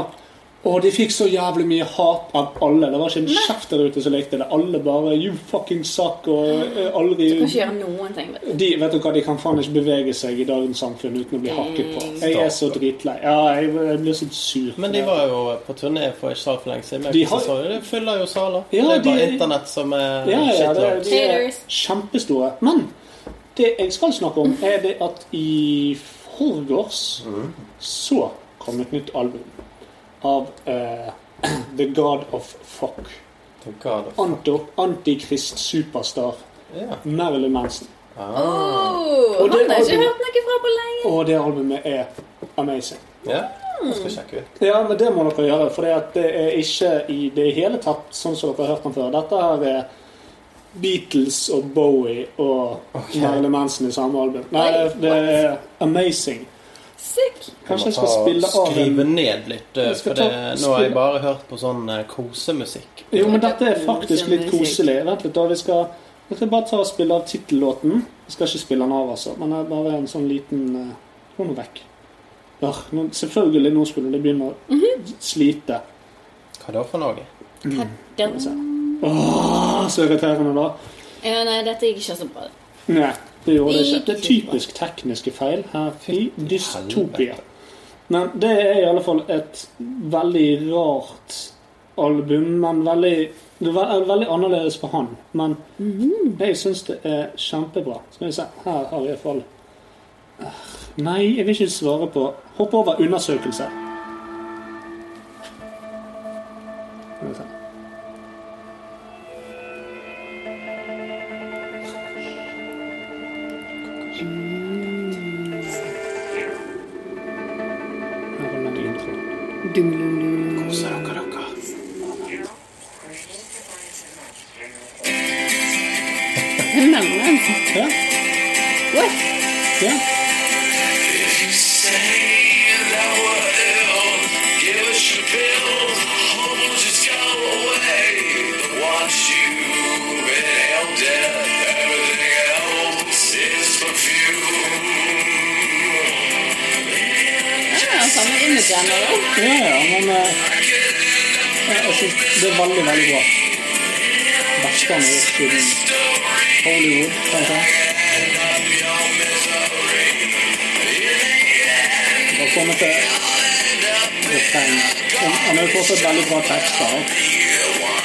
Speaker 5: Og de fikk så jævlig mye hat av alle. Det var ikke en kjeft der ute som likte det. Alle bare 'you fucking suck' og eh, aldri
Speaker 2: Du kan ikke gjøre noen ting. vet du.
Speaker 5: de, vet du hva, de kan faen ikke bevege seg i dagens samfunn uten å bli hakket på. Jeg er så dritlei. Ja, jeg, jeg blir så sur. for
Speaker 1: Men de
Speaker 5: det.
Speaker 1: var jo på turné for ikke så altfor lenge siden.
Speaker 5: De
Speaker 1: De,
Speaker 5: har-
Speaker 1: har... de fyller jo saler. det
Speaker 5: Ja,
Speaker 1: er bare
Speaker 5: de-
Speaker 1: internett som er
Speaker 5: ja, ja, det,
Speaker 1: shitloads.
Speaker 5: de er
Speaker 2: Haters.
Speaker 5: kjempestore. Men det jeg skal snakke om, er det at i forgårs så kom et nytt album av eh, The God of Fuck.
Speaker 1: Thank God.
Speaker 5: Anto, antikrist superstar
Speaker 1: Ja.
Speaker 5: Marilyn Manson. Mm.
Speaker 2: Oh,
Speaker 5: Og det
Speaker 2: han har ikke
Speaker 5: albumet-
Speaker 2: hørt noe fra på lenge.
Speaker 5: Og det albumet er amazing.
Speaker 1: ja. Jeg skal sjekke ut.
Speaker 5: Ja, men det må dere gjøre, for det er ikke i det hele tatt sånn som dere har hørt den før. Dette her er Beatles og Bowie og Marilyn Manson i samme album. Nei,
Speaker 2: Oi,
Speaker 5: det er amazing.
Speaker 2: Sykt.
Speaker 5: Kanskje jeg
Speaker 1: Ta
Speaker 5: skal spille
Speaker 1: og
Speaker 5: av
Speaker 1: Skrive
Speaker 5: en
Speaker 1: ned litt, eh,
Speaker 5: Jeg skal
Speaker 1: for
Speaker 5: ta-
Speaker 1: det, nå har
Speaker 5: spille-
Speaker 1: jeg bare hørt på sånn eh, kosemusikk.
Speaker 5: Jo, men dette er faktisk litt koselig. Vent litt, da. Vi skal, vi skal bare ta og spille av tittellåten. Vi skal ikke spille den av, altså, men det er bare en sånn liten eh, Gå nå vekk. Ja, nå, selvfølgelig, nå skulle det begynne å slite.
Speaker 1: Hva da for noe?
Speaker 2: Den-
Speaker 5: Åh, Ah, så irriterende, da.
Speaker 2: Ja, nei, dette gikk ikke så bra.
Speaker 5: Nei, det gjorde det ikke.
Speaker 2: Ikke
Speaker 5: Det er typisk tekniske feil her i Dystopia.
Speaker 1: helvete.
Speaker 5: Men det er i alle fall et veldig rart album, men veldig det er ve- veldig annerledes for han, men jeg syns det er kjempebra. Skal vi se, her har vi iallfall Nei, jeg vil ikke svare på Hopp over undersøkelse. Skal vi se. Her var den introen. Ja. Ja.
Speaker 2: Ja, samme image igjen, da.
Speaker 5: Ja, ja, men eh, jeg, jeg synes det er veldig, veldig bra. Beste han har gjort siden Hollywood, kanskje. Og kommer til refrenget. En Han har jo fortsatt veldig bra tekster.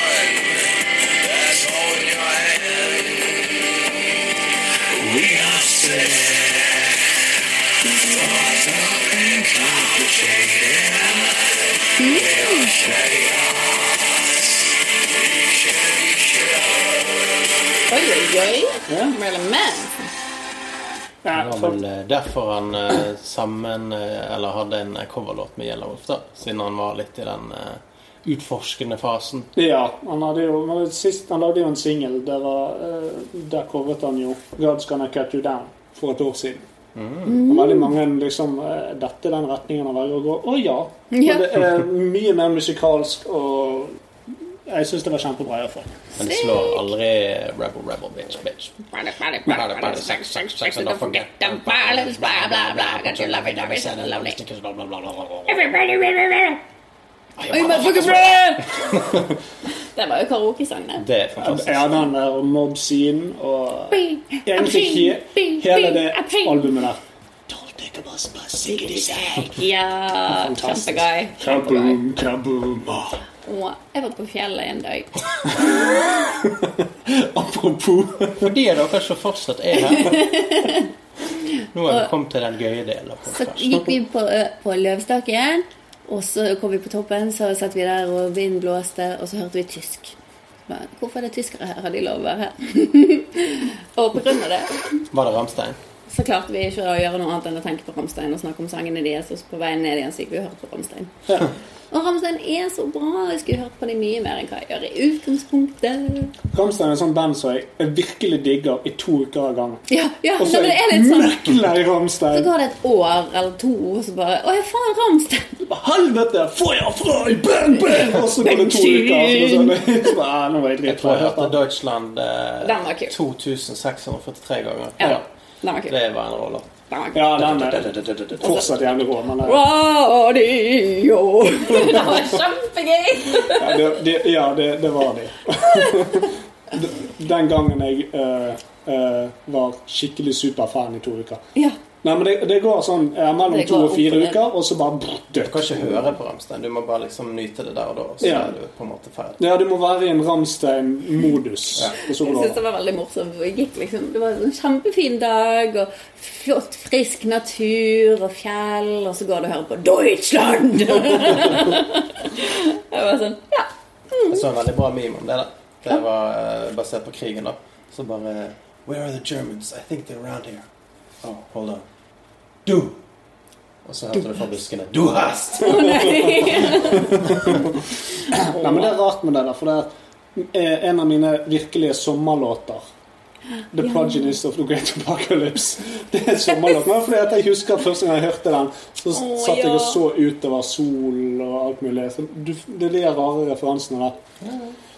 Speaker 2: Oi, oi, oi. Merlin Mann.
Speaker 5: Ja,
Speaker 1: Det var
Speaker 5: for,
Speaker 1: vel eh, derfor han eh, sammen eh, Eller hadde en eh, coverlåt med Yellow Wolf, da. Siden han var litt i den eh, utforskende fasen.
Speaker 5: ja han, hadde jo, han, hadde sist, han lagde jo en singel. Der, var, eh, der covret han jo 'God's Gonna Cut You Down' for et år siden. Og veldig mange liksom eh, Dette er den retningen han velger å gå. Å ja!
Speaker 2: Ja.
Speaker 5: Og det er mye mer musikalsk, og jeg syns det var kjempebra. i hvert fall.
Speaker 1: Men slår aldri eh, Rebel Rebel Bitch Bitch. Don't forget them violence, blah, blah, blah, got you loving, loving, said I love it, stickers, blah, blah, blah, blah, blah, blah.
Speaker 2: Oi, motherfucker, brød! Det var jo karaokesang, det.
Speaker 1: Det er fantastisk.
Speaker 5: Ja, den der mob scene og Egentlig he,
Speaker 2: Bing,
Speaker 5: hele
Speaker 2: bing,
Speaker 5: det
Speaker 2: bing.
Speaker 5: albumet der.
Speaker 2: Ja, kjempeguy.
Speaker 5: Kaboom, kaboom.
Speaker 2: Og jeg var på fjellet en dag.
Speaker 5: Apropos
Speaker 1: Fordi dere ikke fortsatt er her. Nå er vi kommet til den gøye delen av
Speaker 2: Så
Speaker 1: podcasten.
Speaker 2: gikk vi på, ø- på Løvstakken, og så kom vi på toppen, så satt vi der, og vinden blåste, og så hørte vi tysk. Men hvorfor er det tyskere her? Har de lov å være her? og på grunn av det
Speaker 1: Var det Ramstein?
Speaker 2: så klarte vi ikke å gjøre noe annet enn å tenke på Ramstein og snakke om sangene deres. Og så på veien ned igjen så gikk vi og hørte på Ramstein. Og Ramstein er så bra. Jeg skulle hørt på dem mye mer enn hva jeg gjør i utgangspunktet.
Speaker 5: Ramstein er et sånt band som jeg jeg virkelig digger i to uker av gangen.
Speaker 2: Ja, ja,
Speaker 5: Og
Speaker 2: nei,
Speaker 5: så
Speaker 2: men det er
Speaker 5: er jeg
Speaker 2: litt sånn
Speaker 5: møkklei
Speaker 2: Så
Speaker 5: Ramstein.
Speaker 2: går det et år eller to, og så bare Å ja, faen, Ramstein!
Speaker 5: Helvete! Får jeg fra i bang, bang! Og så går det to
Speaker 2: Bensin!
Speaker 5: uker. Så det er sånn, ja, nå var
Speaker 1: Jeg
Speaker 5: jeg
Speaker 1: tror jeg
Speaker 5: dritlei.
Speaker 1: hørte Deutschland
Speaker 2: Den var
Speaker 1: eh,
Speaker 2: kul.
Speaker 1: 2643 ganger.
Speaker 2: Ja, den var kul.
Speaker 1: Det var en rå låt.
Speaker 2: Den var kul.
Speaker 5: Ja, den er fortsatt jævlig rå. Men eh,
Speaker 2: Radio. Det var kjempegøy!
Speaker 5: ja, det, det, ja, det, det var de. Den gangen jeg eh, eh, var skikkelig superfan i to uker.
Speaker 2: Ja.
Speaker 5: Nei, men det, det går sånn eh, mellom
Speaker 2: Det
Speaker 5: to
Speaker 2: går
Speaker 5: og fire
Speaker 2: opp og ned.
Speaker 5: uker, og så bare brr,
Speaker 1: Du
Speaker 5: dødt.
Speaker 1: kan ikke høre på Ramstein. Du må bare liksom nyte det der og da. og Så
Speaker 5: Ja.
Speaker 1: er du på en måte ferdig.
Speaker 5: Ja, du må være i en Ramstein-modus. Og så
Speaker 2: Jeg
Speaker 5: går
Speaker 2: synes
Speaker 5: det
Speaker 2: det
Speaker 5: over.
Speaker 2: var veldig morsomt. Vi gikk liksom, det var en kjempefin dag, og flott, frisk natur og fjell, og så går det og hører på Deutschland! jeg var sånn, ja.
Speaker 1: Jeg så en veldig bra meme om det. da. Det var eh, basert på krigen, da. Så bare Where are the Germans? I think they're around here. Oh, hold on. Du! Og så hørte du fra buskene Du hast!
Speaker 2: Å nei!
Speaker 5: Nei, men det er rart med det der, for det er eh, en av mine virkelige sommerlåter. The Progenies of the Great Apocalypse. Det er en sommerlåt. Men fordi at jeg husker at første gang jeg hørte den, så
Speaker 2: Å,
Speaker 5: satt jeg og
Speaker 2: ja.
Speaker 5: så utover sol og alt mulig. Så du, det er de rare referansene der.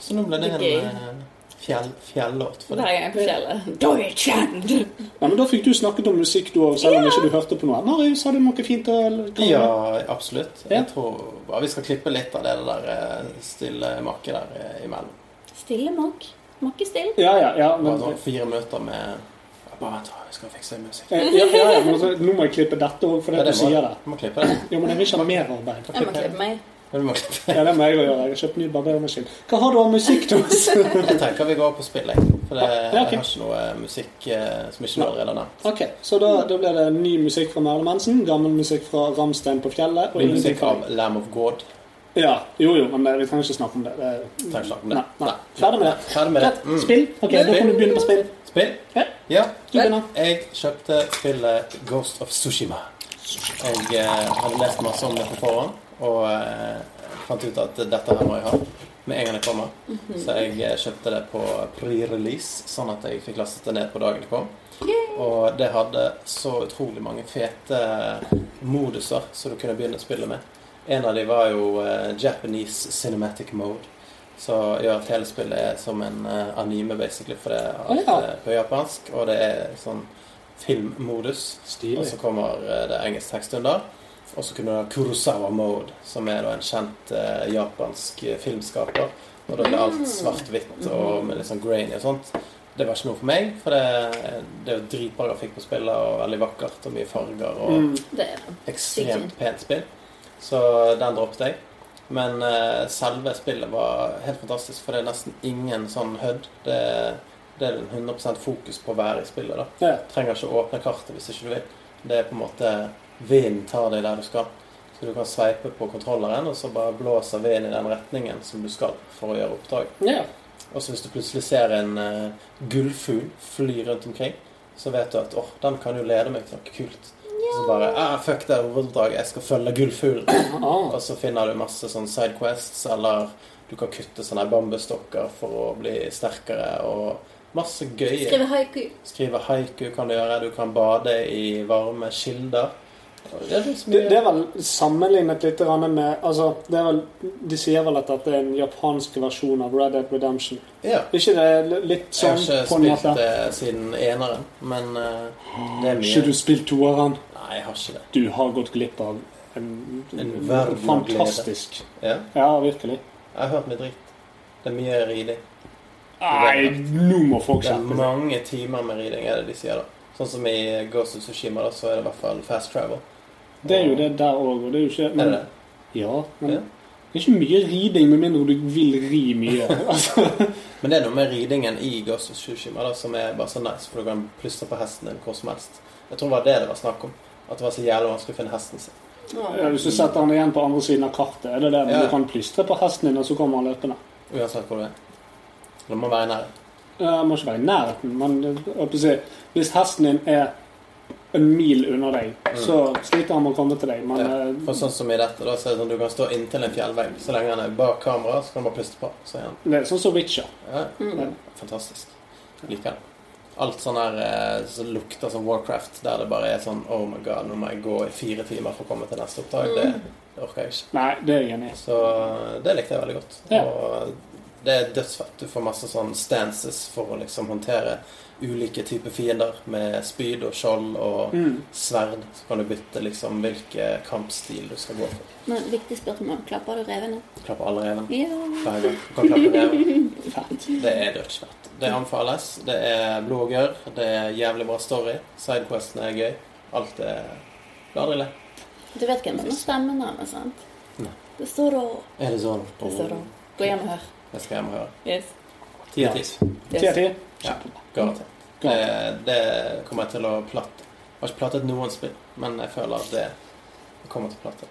Speaker 1: Så nå ble det en
Speaker 2: Gøy.
Speaker 1: eh, fjell, fjellåt for deg.
Speaker 2: Hver gang jeg er på fjellet. Deutschland!
Speaker 5: Ja, men Da fikk du snakket om musikk, du òg, selv om ikke du hørte på noe. Marius, har du noe fint eh, å komme med?
Speaker 1: Ja, absolutt.
Speaker 5: Ja.
Speaker 1: Jeg tror ja, vi skal klippe litt av det der eh, stille makket der eh, imellom.
Speaker 2: Stille makk. Makke still.
Speaker 5: Ja, ja, ja,
Speaker 1: Bare
Speaker 5: men,
Speaker 1: sånn fire minutter med ja, Bare vent, da, vi skal fikse musikk.
Speaker 5: Eh, ja, ja, ja, men altså, nå må jeg klippe dette òg, fordi
Speaker 1: Ja,
Speaker 5: at du
Speaker 1: må,
Speaker 5: sier det.
Speaker 1: du må klippe det.
Speaker 5: Jo, men jeg vil ikke ha mer arbeid.
Speaker 2: Jeg må klippe meg.
Speaker 1: Ja, Du må klippe det.
Speaker 5: Ja, det må jeg jo gjøre. Jeg har kjøpt ny barbermaskin. Hva har du av musikk, Thomas?
Speaker 1: Jeg tenker vi går på spill, jeg. For det,
Speaker 5: Ja, ok.
Speaker 1: jeg har ikke noe eh, musikk eh, som ikke du allerede har nevnt.
Speaker 5: ok, så da, da blir det ny musikk fra Merle Mansen, gammel musikk fra Ramstein på fjellet og
Speaker 1: Ny musikk
Speaker 5: fra-
Speaker 1: av Lamb of God.
Speaker 5: Ja, jo, jo, men det, vi trenger ikke snakke om det. det
Speaker 1: Trenger ikke snakke om
Speaker 5: nei,
Speaker 1: det.
Speaker 5: nei. Ferdig med det.
Speaker 1: Ferdig med det.
Speaker 5: Ja,
Speaker 1: Mm.
Speaker 5: Spill. Ok, da kan du begynne på spill.
Speaker 1: Spill?
Speaker 5: Ja.
Speaker 1: Ja.
Speaker 5: Du begynner.
Speaker 1: Jeg kjøpte spillet Ghost of Sushima. Jeg eh, hadde lest masse om det på forhånd, og eh, fant ut at dette her må jeg ha med en gang det kommer. Så jeg eh, kjøpte det på pre-release, sånn at jeg fikk lastet det ned på dagen det kom. Og det hadde så utrolig mange fete eh, moduser som du kunne begynne å spille med. En av de var jo eh, Japanese Cinematic Mode, som gjør at hele spillet er som en eh, anime, basically, for det er alt
Speaker 5: Å, ja.
Speaker 1: eh, på japansk, og det er sånn filmmodus. Og så kommer eh, det engelsk tekst under. Og så kunne du ha Kurosawa Mode, som er da en kjent eh, japansk eh, filmskaper. Og da blir
Speaker 5: Mm.
Speaker 1: alt svart-hvitt og med litt sånn grainy og sånt. Det var ikke noe for meg, for det, det er jo dritbra grafikk på spillet, og veldig vakkert, og mye farger, og
Speaker 5: Mm.
Speaker 2: Det er det.
Speaker 1: ekstremt pent spill. Så den droppet jeg. Men eh, selve spillet var helt fantastisk, for det er nesten ingen sånn HUD. Det, det er 100 fokus på været i spillet. da.
Speaker 5: Ja.
Speaker 1: Du trenger ikke å åpne kartet hvis ikke du vil. Det er på en måte Vinden tar deg der du skal. Så du kan sveipe på kontrolleren, og så bare blåser vinden i den retningen som du skal for å gjøre oppdrag.
Speaker 5: Ja.
Speaker 1: Og så hvis du plutselig ser en eh, gullfugl fly rundt omkring, så vet du at åh, den kan jo lede meg til noe kult. Så bare ah, fuck det hovedoppdraget, jeg skal følge gullfuglen.
Speaker 5: Ah.
Speaker 1: Og så finner du masse sånn sidequests, eller du kan kutte sånne bambusstokker for å bli sterkere, og masse gøye.
Speaker 4: Skrive haiku.
Speaker 1: Skrive haiku kan du gjøre, du kan bade i varme kilder. Og Det er liksom
Speaker 5: Det, det er vel sammenlignet litt grann med altså, det er vel, De sier vel at det er en japansk versjon av Red Dead Redemption.
Speaker 1: Ja.
Speaker 5: Er ikke det litt
Speaker 1: Jeg
Speaker 5: sånn
Speaker 1: har ikke
Speaker 5: på
Speaker 1: spilt
Speaker 5: nettet?
Speaker 1: det siden eneren, men eh, det er
Speaker 5: Ikke du
Speaker 1: mye.
Speaker 5: spilt toeren?
Speaker 1: Nei, jeg har ikke det.
Speaker 5: Du har gått glipp av en,
Speaker 1: En verden av
Speaker 5: fantastisk
Speaker 1: Ja.
Speaker 5: Ja, virkelig.
Speaker 1: Jeg har hørt mye dritt. Det er mye riding.
Speaker 5: Nei, nå må folk
Speaker 1: Det er
Speaker 5: skjerpe seg.
Speaker 1: mange timer med riding, er det de sier. da. Sånn som i Ghost of Tsushima, da, så er det i hvert fall fast travel.
Speaker 5: Det er jo det der òg, og det er jo ikke
Speaker 1: Er det
Speaker 5: men,
Speaker 1: det?
Speaker 5: Ja, men
Speaker 1: Ja.
Speaker 5: det er ikke mye riding med mindre du vil ri mye. altså,
Speaker 1: Men det er noe med ridingen i Ghost of Tsushima da, som er bare så nice, for du kan plystre på hesten din hvor som helst. Jeg tror det var det det var snakk om. At det var så jævlig vanskelig å finne hesten sin.
Speaker 5: ja, Hvis du setter han igjen på andre siden av kartet, er det der
Speaker 1: Ja.
Speaker 5: du kan plystre på hesten din, og så kommer han løpende.
Speaker 1: Uansett hvor du er. Det må være i nærheten.
Speaker 5: Jeg må ikke være i nærheten, men jeg holdt på å si, hvis hesten din er en mil under deg, så sliter han med å komme til deg. Men
Speaker 1: Mm. Ja.
Speaker 5: eh,
Speaker 1: For sånn som i dette, da, så er det sånn at du kan stå inntil en fjellvegg. Så lenge han er bak kamera, så kan du bare plystre på. Så er han
Speaker 5: det er sånn som Witcher.
Speaker 1: Ja, Fantastisk. Liker det. Alt sånn her eh, som lukter som Warcraft, der det bare er sånn Oh my god, nå må jeg gå i fire timer for å komme til neste oppdrag. Det, det orker jeg ikke.
Speaker 5: Nei, det er jeg enig i.
Speaker 1: Så eh, det likte jeg veldig godt.
Speaker 5: Ja.
Speaker 1: Og eh, det er dødsfett. Du får masse sånn stances for å liksom håndtere ulike typer fiender med spyd og skjold og sverd. Så kan du bytte liksom hvilken kampstil du skal gå for.
Speaker 2: Men viktig spørsmål. Klapper du revene?
Speaker 1: Klappe alle reven.
Speaker 2: Ja.
Speaker 1: Hver gang. Du kan klappe reven.
Speaker 5: Fett.
Speaker 1: Det er dødsfett. Det anbefales. Det er blod og gørr. Det er jævlig bra story. Sidequestene er gøy. Alt er Du aldri lei.
Speaker 2: Du vet hvem som har stemmen hans, sant?
Speaker 1: Nei.
Speaker 2: Det står da.
Speaker 1: Er det sånn?
Speaker 2: Det står da. Gå hjem og hør.
Speaker 1: Jeg skal hjem og høre.
Speaker 2: Yes.
Speaker 1: Ti av ti.
Speaker 5: Ti av ti.
Speaker 1: Ja, garantert. Det, det kommer jeg til å platte. Jeg har ikke plattet noen spill, men jeg føler at det kommer til å platte.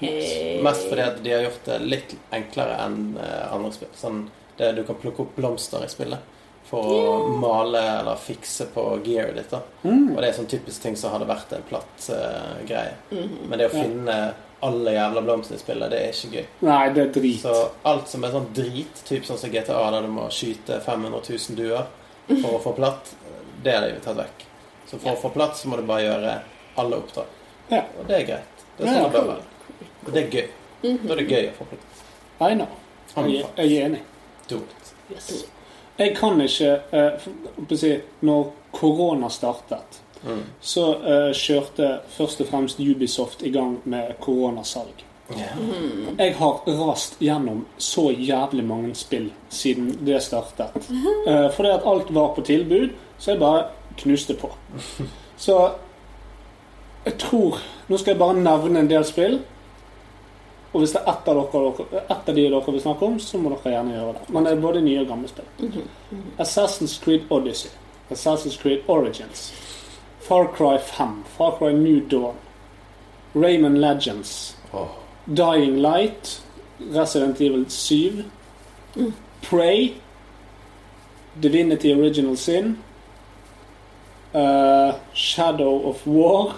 Speaker 2: Hey.
Speaker 1: Mest fordi at de har gjort det litt enklere enn eh, andre spill. Sånn, det, du kan plukke opp blomster i spillet for å male eller fikse på gearet ditt. da. Og det er sånn typisk ting som hadde vært en platt eh, greie. Men det å finne alle jævla blomster i spillet, det er ikke gøy.
Speaker 5: Nei, det er drit.
Speaker 1: Så alt som er sånn drit, typ sånn som GTA, der du må skyte 500 000 duer for å få platt, det er det jo tatt vekk. Så for å få platt så må du bare gjøre alle oppdrag.
Speaker 5: Ja.
Speaker 1: Og det er greit. Det er
Speaker 5: Ja,
Speaker 1: sånn det bør være. Og det er gøy. Da er det gøy å få platt.
Speaker 5: I know. Jeg,
Speaker 1: Anbefalt.
Speaker 5: jeg er enig.
Speaker 1: Dumt.
Speaker 5: Jeg kan ikke eh, f- på å si, Når korona startet, så eh, kjørte først og fremst Ubisoft i gang med koronasalg. Jeg har rast gjennom så jævlig mange spill siden det startet. Eh, fordi at alt var på tilbud, så jeg bare knuste på. Så jeg tror Nå skal jeg bare nevne en del spill. Og hvis det er ett av, dere, dere, ett av de dere vil snakke om, så må dere gjerne gjøre det. Men det er både nye og gamle spill. Assassin's Creed Odyssey. Assassin's Creed Origins. Far Cry 5. Far Cry New Dawn. Raymond Legends.
Speaker 1: Åh.
Speaker 5: Dying Light. Resident Evil 7. Prey. Divinity Original Sin. eh, Shadow of War.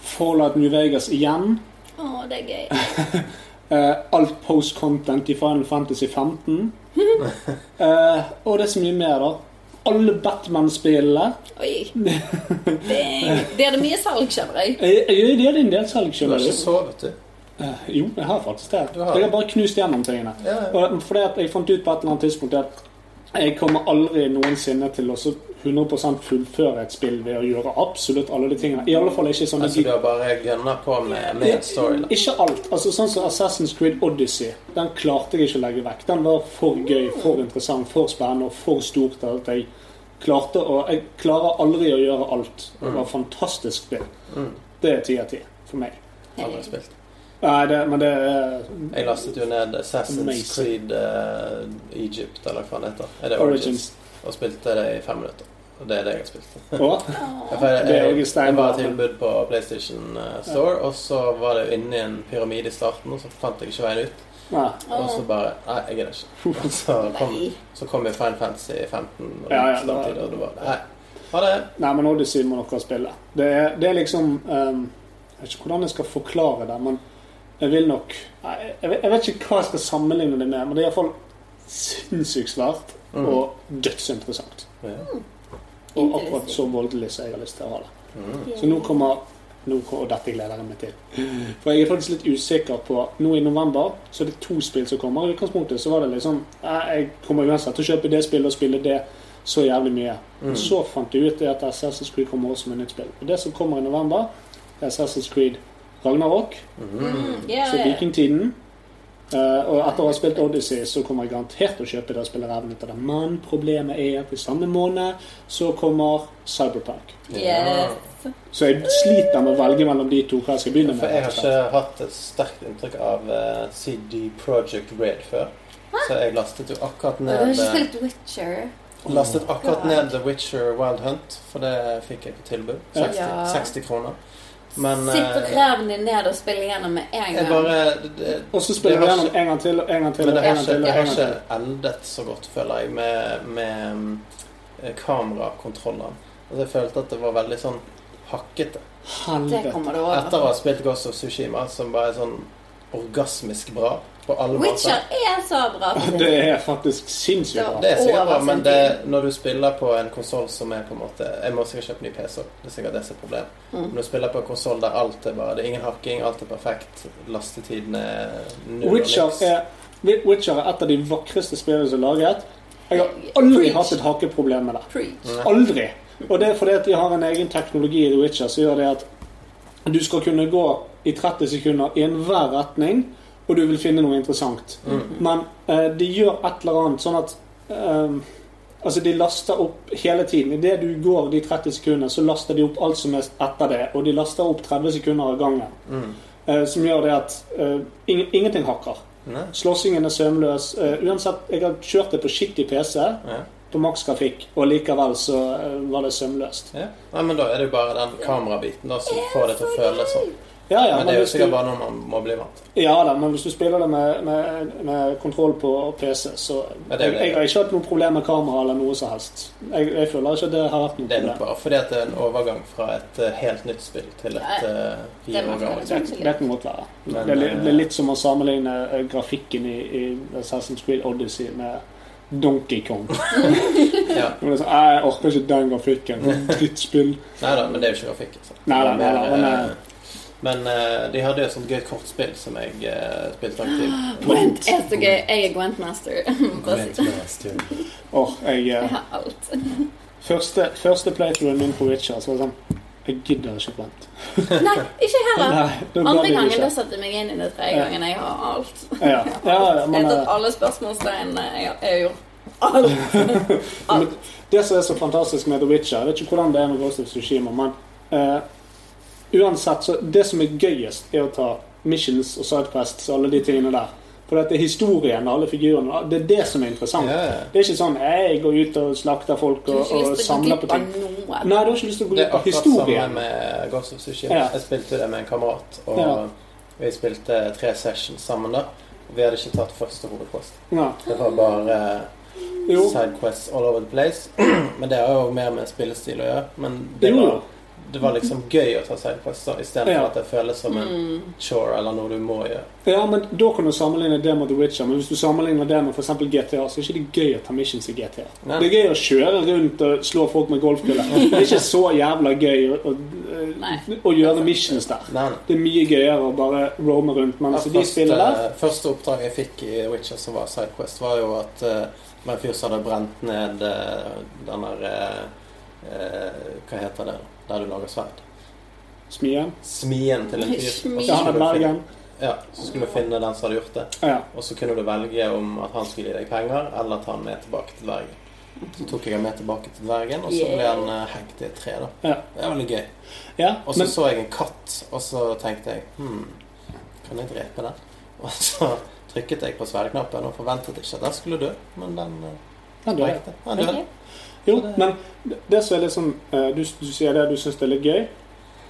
Speaker 5: Fallout New Vegas igjen.
Speaker 2: Å, det er gøy.
Speaker 5: Eh, alt post-content i Final Fantasy 15. Eh, og det er så mye mer, da. Alle Batman-spillene.
Speaker 2: Oi. Bang. Det er det mye salg, skjønner jeg.
Speaker 5: Jeg, jeg, jeg hadde en del
Speaker 1: Du
Speaker 5: salg,
Speaker 1: har
Speaker 5: skjønner
Speaker 1: ikke
Speaker 5: du.
Speaker 1: sovet, du.
Speaker 5: Jo, jeg har faktisk det.
Speaker 1: Du har
Speaker 5: Jeg har bare knust gjennom tingene.
Speaker 1: Ja, ja.
Speaker 5: Og Fordi at jeg fant ut på et eller annet tidspunkt at jeg kommer aldri noensinne til å så 100 fullføre et spill ved å gjøre absolutt alle de tingene. I alle fall ikke sånne
Speaker 1: Altså, du har bare gønna på med main story. da.
Speaker 5: Ikke alt. altså Sånn som Assassin's Creed Odyssey. Den klarte jeg ikke å legge vekk. Den var for gøy, for interessant, for spennende og for stort til at jeg klarte å Jeg klarer aldri å gjøre
Speaker 1: Mm.
Speaker 5: alt. Det var fantastisk, det. Det er ti av ti for meg.
Speaker 1: Aldri spilt.
Speaker 5: Eh, Nei, det, men det er
Speaker 1: Jeg lastet jo ned Assassin's
Speaker 5: Amazing.
Speaker 1: Creed eh, Egypt, eller hva faen det heter. Er det Origins?
Speaker 5: Origins.
Speaker 1: Og spilte det i fem minutter. Og det er det jeg har spilt.
Speaker 5: Å,
Speaker 1: Jeg, jeg,
Speaker 5: Det er
Speaker 1: jeg,
Speaker 5: jo
Speaker 1: jeg
Speaker 5: steinbra,
Speaker 1: var tilbud på PlayStation eh, Store, og så var det jo inne i en pyramide i starten, og så fant jeg ikke veien ut.
Speaker 5: nei.
Speaker 1: Og så bare Nei, jeg gidder ikke. Og så kom, så kom jo Fine Fantasy 15, og det
Speaker 5: Ja, ja,
Speaker 1: gikk så lang
Speaker 5: da-
Speaker 1: tid, og det var Nei, ha det.
Speaker 5: nei, men Odyssey må dere spille. Det er, det er liksom ehm, Jeg vet ikke hvordan jeg skal forklare det, men jeg vil nok Nei, Jeg vet, jeg vet ikke hva jeg skal sammenligne det med, men det er iallfall sinnssykt svært og dødsinteressant.
Speaker 1: Ja.
Speaker 5: Og akkurat så voldelig som jeg har lyst til å ha det. Så nå kommer nå, kom- Og dette gleder jeg meg til. For jeg er faktisk litt usikker på Nå i november så er det to spill som kommer. I utgangspunktet så var det liksom eh, Jeg kommer uansett til å kjøpe det spillet og spille det så jævlig mye. Men Så fant jeg ut det at Assassin's Creed kommer også med nytt spill. Og det som kommer i november, det er Assassin's Creed Ragnarok.
Speaker 10: Ja,
Speaker 5: Så vikingtiden. Eh, og etter å ha spilt Odyssey så kommer jeg garantert til å kjøpe det og spille reven ut av det. Men problemet er at i samme måned så kommer Cyberpunk.
Speaker 10: Yes.
Speaker 5: Så jeg sliter med å velge mellom de to hva jeg skal begynne med.
Speaker 1: For jeg har
Speaker 5: rett og slett.
Speaker 1: ikke hatt et sterkt inntrykk av eh, CD Project Red før. Så jeg lastet jo akkurat
Speaker 2: Du har
Speaker 1: ned
Speaker 2: ikke
Speaker 1: eh,
Speaker 2: spilt Witcher.
Speaker 1: Lastet akkurat
Speaker 2: God.
Speaker 1: ned The Witcher Wild Hunt, for det fikk jeg på tilbud. 60,
Speaker 2: Ja.
Speaker 1: 60 kroner. Men
Speaker 2: Sitt
Speaker 1: eh,
Speaker 2: ræven din ned og spill igjennom med en
Speaker 1: jeg
Speaker 2: gang.
Speaker 1: bare det,
Speaker 5: Og så spiller
Speaker 1: det
Speaker 5: vi
Speaker 1: har
Speaker 5: gjennom
Speaker 1: ikke-
Speaker 5: en gang til og en gang til.
Speaker 1: Men det har
Speaker 5: og en gang
Speaker 1: ikke,
Speaker 5: til,
Speaker 1: det
Speaker 5: og
Speaker 1: har
Speaker 5: en gang til.
Speaker 1: ikke eldet så godt, føler jeg, med, med mm, eh, kamerakontrollene. Altså, jeg følte at det var veldig sånn hakkete.
Speaker 2: Det
Speaker 5: Helvete.
Speaker 2: kommer du over.
Speaker 1: Etter å ha spilt Ghost of Tsushima, som bare er sånn orgasmisk bra på alle måter.
Speaker 2: Witcher er så bra.
Speaker 5: Det er faktisk sinnssykt bra.
Speaker 1: Det er sikkert bra,
Speaker 2: Over
Speaker 1: men
Speaker 2: sin
Speaker 1: det, når du spiller på en konsoll som er på en måte Jeg må sikkert kjøpe ny PC også. Det er sikkert det som er problemet.
Speaker 5: Mm.
Speaker 1: Når du spiller på en konsoll der alt er bare Det er ingen hakking, alt er perfekt, lastetiden er null og
Speaker 5: Witcher
Speaker 1: niks.
Speaker 5: er, Witcher er et av de vakreste spillene som er laget. Jeg har aldri hatt et hakkeproblem med det.
Speaker 2: Preach.
Speaker 5: Aldri. Og det er fordi at de har en egen teknologi i The Witcher som gjør det at du skal kunne gå i 30 sekunder i enhver retning, og du vil finne noe interessant. Men eh, de gjør et eller annet sånn at eh, Altså, de laster opp hele tiden. Idet du går de 30 sekundene, så laster de opp alt som er etter det, og de laster opp 30 sekunder av gangen. Eh, som gjør det at eh, ing ingenting hakker.
Speaker 1: Nei.
Speaker 5: Slåssingen er sømløs. Eh, uansett, jeg har kjørt det på skittig PC, på maksgrafikk, og likevel så eh, var det sømløst.
Speaker 1: Ja. Nei, men da er det jo bare den kamerabiten da som får det til å føles sånn.
Speaker 5: Ja, ja,
Speaker 1: Men det er jo
Speaker 5: hvis du,
Speaker 1: sikkert bare noe man må bli vant til.
Speaker 5: ja da, men hvis du spiller det med, med, med kontroll på PC, så
Speaker 1: Ja, det er jo
Speaker 5: jeg,
Speaker 1: det.
Speaker 5: jeg har ikke hatt noe problem med kamera eller noe som helst. Jeg, jeg føler ikke at det har vært noe
Speaker 1: Det er nok
Speaker 5: problem.
Speaker 1: bare fordi at det er en overgang fra et eh, helt nytt spill til et eh, fire
Speaker 2: må
Speaker 1: år gammelt.
Speaker 5: Det, det kan godt være.
Speaker 1: Men,
Speaker 5: det, er, li-
Speaker 1: eh,
Speaker 5: det er litt som å sammenligne eh, grafikken i, i Assassin's Creed Odyssey med Donkey Kong.
Speaker 1: Ja.
Speaker 5: Men det er sånn, Jeg orker ikke den grafikken. Drittspill.
Speaker 1: Nei da, men det er jo ikke grafikk. Altså.
Speaker 5: Nei da, nei da, men,
Speaker 1: Men, eh, men eh, de hadde jo et sånt gøy kortspill som jeg eh, spilte aktivt.
Speaker 2: Gwent er så gøy. Jeg er Gwent Master. Bare si-
Speaker 5: Åh, jeg
Speaker 2: Jeg
Speaker 5: eh,
Speaker 2: har alt.
Speaker 5: Første, første playthroughen min på Witcher, så var det sånn Jeg gidder ikke Brent.
Speaker 2: Nei, ikke her, da.
Speaker 5: Nei, det gadd
Speaker 2: Andre
Speaker 5: jeg
Speaker 2: gangen da
Speaker 5: ikke.
Speaker 2: satte jeg meg inn i det. Tredje
Speaker 5: Ja.
Speaker 2: gangen jeg har alt.
Speaker 5: Ja, ja, ja,
Speaker 2: Jeg
Speaker 5: men,
Speaker 2: har
Speaker 5: eh,
Speaker 2: tatt alle spørsmålstegnene. Jeg har- jeg har gjort alt.
Speaker 5: men det som er så fantastisk med The Witcher Jeg vet ikke hvordan det er med Ghost of Tsushima, men eh, uansett så Det som er gøyest, er å ta missions og sidequests og alle de tingene der. For dette er historien og alle figurene. Det er det som er interessant.
Speaker 1: Ja, ja.
Speaker 5: Det er ikke sånn jeg går ut og slakter folk
Speaker 2: Du har
Speaker 5: og,
Speaker 2: ikke lyst til
Speaker 5: og
Speaker 2: å gå
Speaker 5: samler på
Speaker 2: glipp av
Speaker 5: ting. Nei,
Speaker 2: noe.
Speaker 5: du har ikke lyst til å gå
Speaker 1: Det er
Speaker 5: ut på
Speaker 1: akkurat samme
Speaker 5: historien.
Speaker 1: med Ghost of Sushi.
Speaker 5: Ja.
Speaker 1: Jeg spilte det med en kamerat, og
Speaker 5: Ja.
Speaker 1: vi spilte tre sessions sammen da. Vi hadde ikke tatt første hovedpost.
Speaker 5: Ja.
Speaker 1: Det var bare
Speaker 5: Jo.
Speaker 1: sidequests all over the place. Men det har jo mer med spillestil å gjøre. Men det
Speaker 5: Jo,
Speaker 1: var,
Speaker 5: jo.
Speaker 1: det var liksom gøy å ta sidequests da, istedenfor
Speaker 5: Ja.
Speaker 1: at det føles som en chore eller noe du må gjøre.
Speaker 5: Ja, men Da kan du sammenligne det med The Witcher, men hvis du sammenligner det med for eksempel GTA, så er ikke det gøy å ta missions i GTA.
Speaker 1: Nei.
Speaker 5: Det er gøy å kjøre rundt og slå folk med golfkølle. Det er ikke så jævla gøy å, å,
Speaker 11: Nei.
Speaker 5: å gjøre missions der.
Speaker 1: Nei, nei.
Speaker 5: Det er mye gøyere å bare roame rundt. Men altså, de spiller der.
Speaker 1: første, første oppdrag jeg fikk i Witcher som var Sidequest, var jo at eh, det var en fyr som hadde brent ned eh, den der eh, eh, Hva heter det? Der du lager sverd. eh,
Speaker 5: Smien.
Speaker 1: Smien til en fyr.
Speaker 2: Smien.
Speaker 1: og så
Speaker 5: Ja, han
Speaker 1: skulle
Speaker 5: er
Speaker 1: du
Speaker 5: Bergen.
Speaker 1: finne- Ja, så skulle du finne den som hadde gjort det.
Speaker 5: Ja.
Speaker 1: Og så kunne du velge om at han skulle gi deg penger, eller ta han med tilbake til dvergen. Så tok jeg han med tilbake til dvergen, og så ble han eh, hengt i et tre. da
Speaker 5: Ja.
Speaker 1: Det er veldig gøy.
Speaker 5: ja.
Speaker 1: Og så
Speaker 5: Men,
Speaker 1: så jeg en katt, og så tenkte jeg hmm, Kan jeg drepe den? Og så trykket jeg på sverdknappen og forventet ikke at den skulle dø, men den eh,
Speaker 5: Den dør.
Speaker 1: drepte. Den døde.
Speaker 5: Jo, men det- det som er litt sånn eh, Du, du sier det du syns det er litt gøy,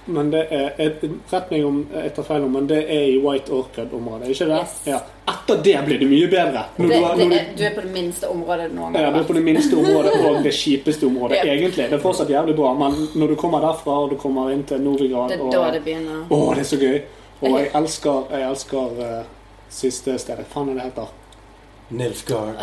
Speaker 5: men det er et, Rett meg om etter feil, nå, men det er i White Orchid-området, ikke det?
Speaker 2: Yes.
Speaker 5: Ja. Etter det blir det mye bedre. Når
Speaker 2: Det,
Speaker 5: du, har-
Speaker 2: det
Speaker 5: når du,
Speaker 2: er, du er på det minste området du noen gang
Speaker 5: ja,
Speaker 2: har
Speaker 5: det er på det minste området og det kjipeste området,
Speaker 2: Ja.
Speaker 5: egentlig. Det er fortsatt jævlig bra, men når du kommer derfra og du kommer inn til Novigrad
Speaker 2: Det er
Speaker 5: og-
Speaker 2: da det begynner.
Speaker 5: Å, det er så gøy. Og jeg elsker, jeg elsker eh, siste stedet. Faen, hva det heter
Speaker 1: Nilfgaard.
Speaker 2: Uh,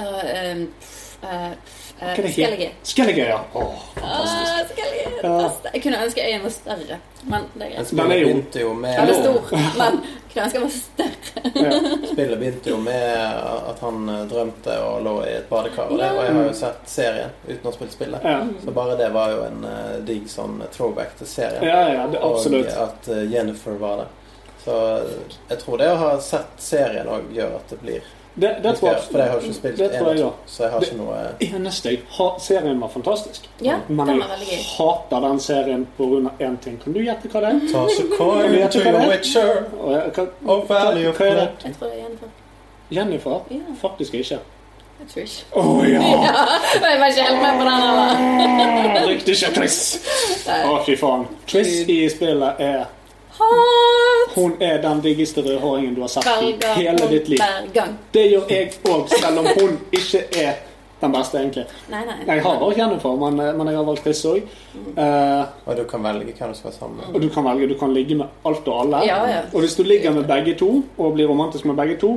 Speaker 2: um, pff, uh, pff, uh,
Speaker 5: Hva er det?
Speaker 2: Skellige.
Speaker 5: Skellige, ja. Åh.
Speaker 2: Ah, Skellige.
Speaker 5: Ja.
Speaker 2: Ass, Jeg kunne ønske øyen var større, men det er greit.
Speaker 1: Spillet
Speaker 5: Den er jo-
Speaker 1: begynte jo
Speaker 2: Den
Speaker 1: med
Speaker 2: er stor, men jeg kunne ønske den var større.
Speaker 5: Ja.
Speaker 1: Spillet begynte jo med at han eh, drømte og lå i et badekar. Og, det, og jeg har
Speaker 5: Mm.
Speaker 1: jo sett serien uten å ha spilt spillet.
Speaker 5: Ja.
Speaker 1: Så bare det var jo en eh, digg sånn throwback til serien.
Speaker 5: ja, ja, det, absolutt.
Speaker 1: Og at eh, Jennifer var det. Så eh, jeg tror det å ha sett serien òg gjør at det blir
Speaker 5: Det, det tror
Speaker 1: For jeg har jo ikke
Speaker 5: jeg.
Speaker 1: spilt
Speaker 5: Det tror
Speaker 1: en og
Speaker 5: jeg,
Speaker 1: to,
Speaker 5: ja.
Speaker 1: så jeg har ikke noe eh,
Speaker 5: Eneste jeg har Serien var fantastisk.
Speaker 2: Ja,
Speaker 5: Men
Speaker 2: den var veldig
Speaker 5: jeg
Speaker 2: gøy.
Speaker 5: hater den serien pga. én ting. Kan du gjette hva det er?
Speaker 1: Ta så coin
Speaker 5: Jeg vet
Speaker 1: to
Speaker 5: ikke hva
Speaker 1: your
Speaker 5: det er.
Speaker 1: witcher
Speaker 2: Mm.
Speaker 5: Og jeg kan-
Speaker 1: og valley of
Speaker 5: Hva er det?
Speaker 1: blood.
Speaker 2: Jeg tror det er Jennifer.
Speaker 5: Jennifer?
Speaker 2: Ja.
Speaker 5: Faktisk ikke.
Speaker 2: Jeg tror ikke.
Speaker 5: Å ja!
Speaker 2: Jeg var ikke helt med på den. Eller.
Speaker 5: Riktig ikke Triss! Å, fy faen. Triss i spillet er
Speaker 2: Hat
Speaker 5: Hun er den diggeste rødhåringen du har sett i
Speaker 2: velger
Speaker 5: hele ditt liv.
Speaker 2: hver gang.
Speaker 5: Det gjør jeg òg, selv om hun ikke er den beste, egentlig.
Speaker 2: Nei, nei.
Speaker 5: Jeg har valgt Jennifer, men, men jeg har valgt Triss òg.
Speaker 2: Mm.
Speaker 5: Eh,
Speaker 1: Og du kan velge hvem du skal være sammen med.
Speaker 5: Og du kan velge, du kan ligge med alt og alle.
Speaker 2: Ja, ja.
Speaker 5: Og hvis du ligger med begge to, og blir romantisk med begge to,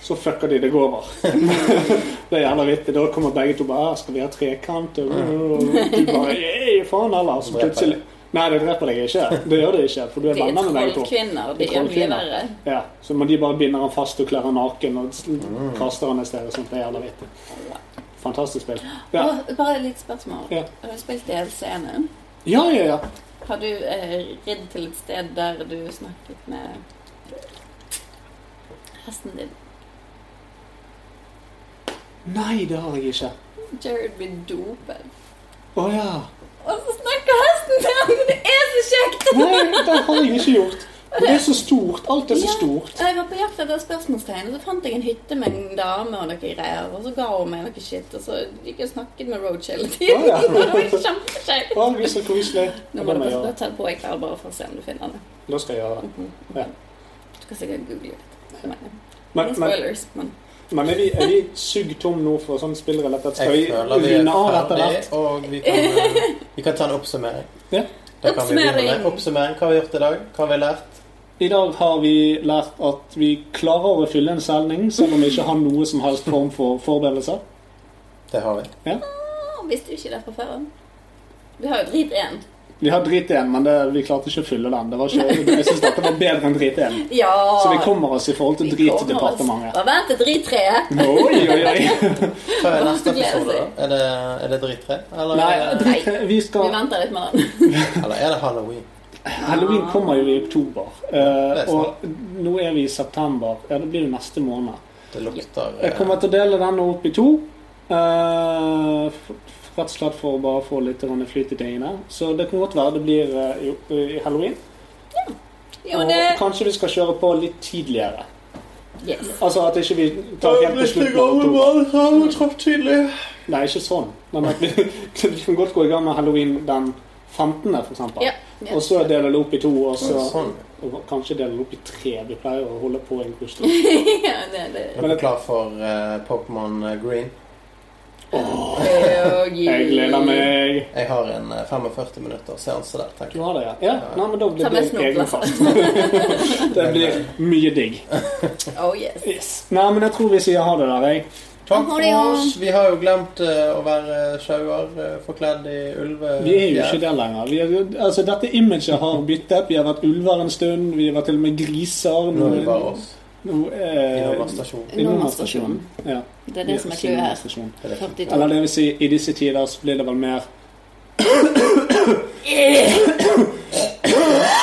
Speaker 5: så fucker de deg over. det er jævla vittig. Da kommer begge to bare «Ah, 'Skal vi ha trekant?' Og du bare «Ei, faen heller'. Så
Speaker 1: Dreper
Speaker 5: plutselig
Speaker 1: deg.
Speaker 5: Nei, det dreper deg ikke. Det gjør det ikke, for du er
Speaker 2: De er
Speaker 5: venner med begge to.
Speaker 2: trollkvinner. De
Speaker 5: Det er
Speaker 2: er mye
Speaker 5: trollkvinner.
Speaker 2: verre.
Speaker 5: Ja, så må de bare binder han fast og kler han naken og sl- kaster han et sted. og sånt. Det er jævla vittig. Fantastisk spill. Ja,
Speaker 2: Å, Bare et lite spørsmål.
Speaker 5: Ja.
Speaker 2: Har du spilt DLC-ene?
Speaker 5: ja, ja. ja.
Speaker 2: Har du eh, ridd til et sted der du snakket med hesten din?
Speaker 5: Nei, det har jeg ikke.
Speaker 2: Jared blir dopet.
Speaker 5: Å ja.
Speaker 2: Og så snakker hesten til ham! Det er så kjekt!
Speaker 5: Nei, det har jeg ikke gjort. Men Det er så stort. Alt er så stort.
Speaker 2: Jeg var på jakt etter et spørsmålstegn, og så fant jeg en hytte med en dame og noe greier. Og så ga hun meg noe shit, og så gikk jeg og snakket med Roach hele tiden.
Speaker 5: Å, ja.
Speaker 2: det var kjempekjekt.
Speaker 5: Å, det er så koselig.
Speaker 2: Nå må
Speaker 5: Ja, det
Speaker 2: du
Speaker 5: må jeg
Speaker 2: bare
Speaker 5: gjøre.
Speaker 2: ta det på jeg klarer bare for å se om du finner det. Mhm.
Speaker 5: Da skal jeg gjøre det. Ja.
Speaker 2: Du kan sikkert google litt. Men,
Speaker 5: Men,
Speaker 2: ingen
Speaker 5: men,
Speaker 2: spoilers, men
Speaker 5: men er vi, er vi sugd tom nå for sånn spillrelatert? Skal
Speaker 1: Jeg
Speaker 5: vi
Speaker 1: føler vi er
Speaker 5: runde av etter
Speaker 1: ferdig,
Speaker 5: hvert?
Speaker 1: og vi kan, eh, vi kan ta en oppsummering.
Speaker 5: Ja.
Speaker 1: Da kan vi begynne med
Speaker 2: Oppsummering.
Speaker 1: oppsummering. Hva har vi gjort i dag? Hva har vi lært?
Speaker 5: I dag har vi lært at vi klarer å fylle en sending selv om vi ikke har noe som helst form for forberedelser.
Speaker 1: Det har vi.
Speaker 2: Å, Visste du ikke det fra før? Vi har jo drit igjen.
Speaker 5: Vi har drit igjen, men det, vi klarte ikke å fylle den. Det var ikke, jeg synes dette var bedre enn drit igjen.
Speaker 2: Ja!
Speaker 5: Så vi kommer oss i forhold
Speaker 2: Ah,
Speaker 5: til
Speaker 2: Vi kommer oss.
Speaker 5: dritdepartementet.
Speaker 2: Bare vent til drittreet.
Speaker 5: Oi, oi, oi.
Speaker 1: Hva er neste
Speaker 2: gleder
Speaker 1: episode, da?
Speaker 2: seg.
Speaker 1: Er det, er det drittre? Eller,
Speaker 5: Nei,
Speaker 1: er det-
Speaker 5: drit, vi
Speaker 2: Vi
Speaker 5: skal
Speaker 2: venter litt med den.
Speaker 1: eller er det halloween?
Speaker 2: Ah.
Speaker 5: Halloween kommer jo i oktober, eh,
Speaker 1: Det er sant.
Speaker 5: og nå er vi i september. Ja, Det blir jo neste måned.
Speaker 1: Det lukter eh,
Speaker 5: Jeg kommer til å dele denne opp i to. eh, f- rett og slett for å bare få litt grann flyt i tingene. Så det kan godt være det blir eh, i, i halloween.
Speaker 2: Jo,
Speaker 5: og
Speaker 2: det...
Speaker 5: kanskje vi skal kjøre på litt tidligere.
Speaker 2: Yes.
Speaker 5: Altså at ikke vi tar helt til slutten av oktober. Nei, ikke sånn. Men at vi, vi kan godt gå i gang med halloween den 15., for eksempel.
Speaker 2: Ja. ja.
Speaker 5: Og så dele det opp i to, og så
Speaker 1: Sånn.
Speaker 5: og kanskje dele det opp i tre. Vi pleier å holde på en kurs.
Speaker 2: ja det, det.
Speaker 1: Er du klar for eh, Pokémon Green?
Speaker 5: Jeg gleder meg.
Speaker 1: Jeg har en eh, 45 minutter seanse der,
Speaker 5: Du
Speaker 1: tenker jeg.
Speaker 5: har det, ja? ja. Nei, men da
Speaker 2: Ta
Speaker 5: blir
Speaker 2: med
Speaker 5: det en egen
Speaker 2: snopplass.
Speaker 5: fast. det blir mye digg.
Speaker 2: Oh yes.
Speaker 5: Yes. Nei, men jeg tror vi sier ha det der, jeg.
Speaker 1: Takk
Speaker 2: Ha
Speaker 1: for
Speaker 2: det, ja.
Speaker 1: oss. Vi har jo glemt eh, å være sjauer eh, forkledd i ulve...
Speaker 5: Vi er jo ikke der lenger. Vi er, altså, dette imaget har byttet. Vi har vært ulver en stund. Vi har vært til og med griser.
Speaker 1: Nå er vi bare oss
Speaker 5: Nå
Speaker 1: i
Speaker 5: er
Speaker 1: Nordveststasjonen.
Speaker 5: i Nordmannsstasjonen. Ja,
Speaker 12: Det er
Speaker 5: vi
Speaker 12: det som er clouet her.
Speaker 5: Nordmannsstasjonen.
Speaker 12: 42.
Speaker 5: Eller det vil si, i disse tider så blir det vel mer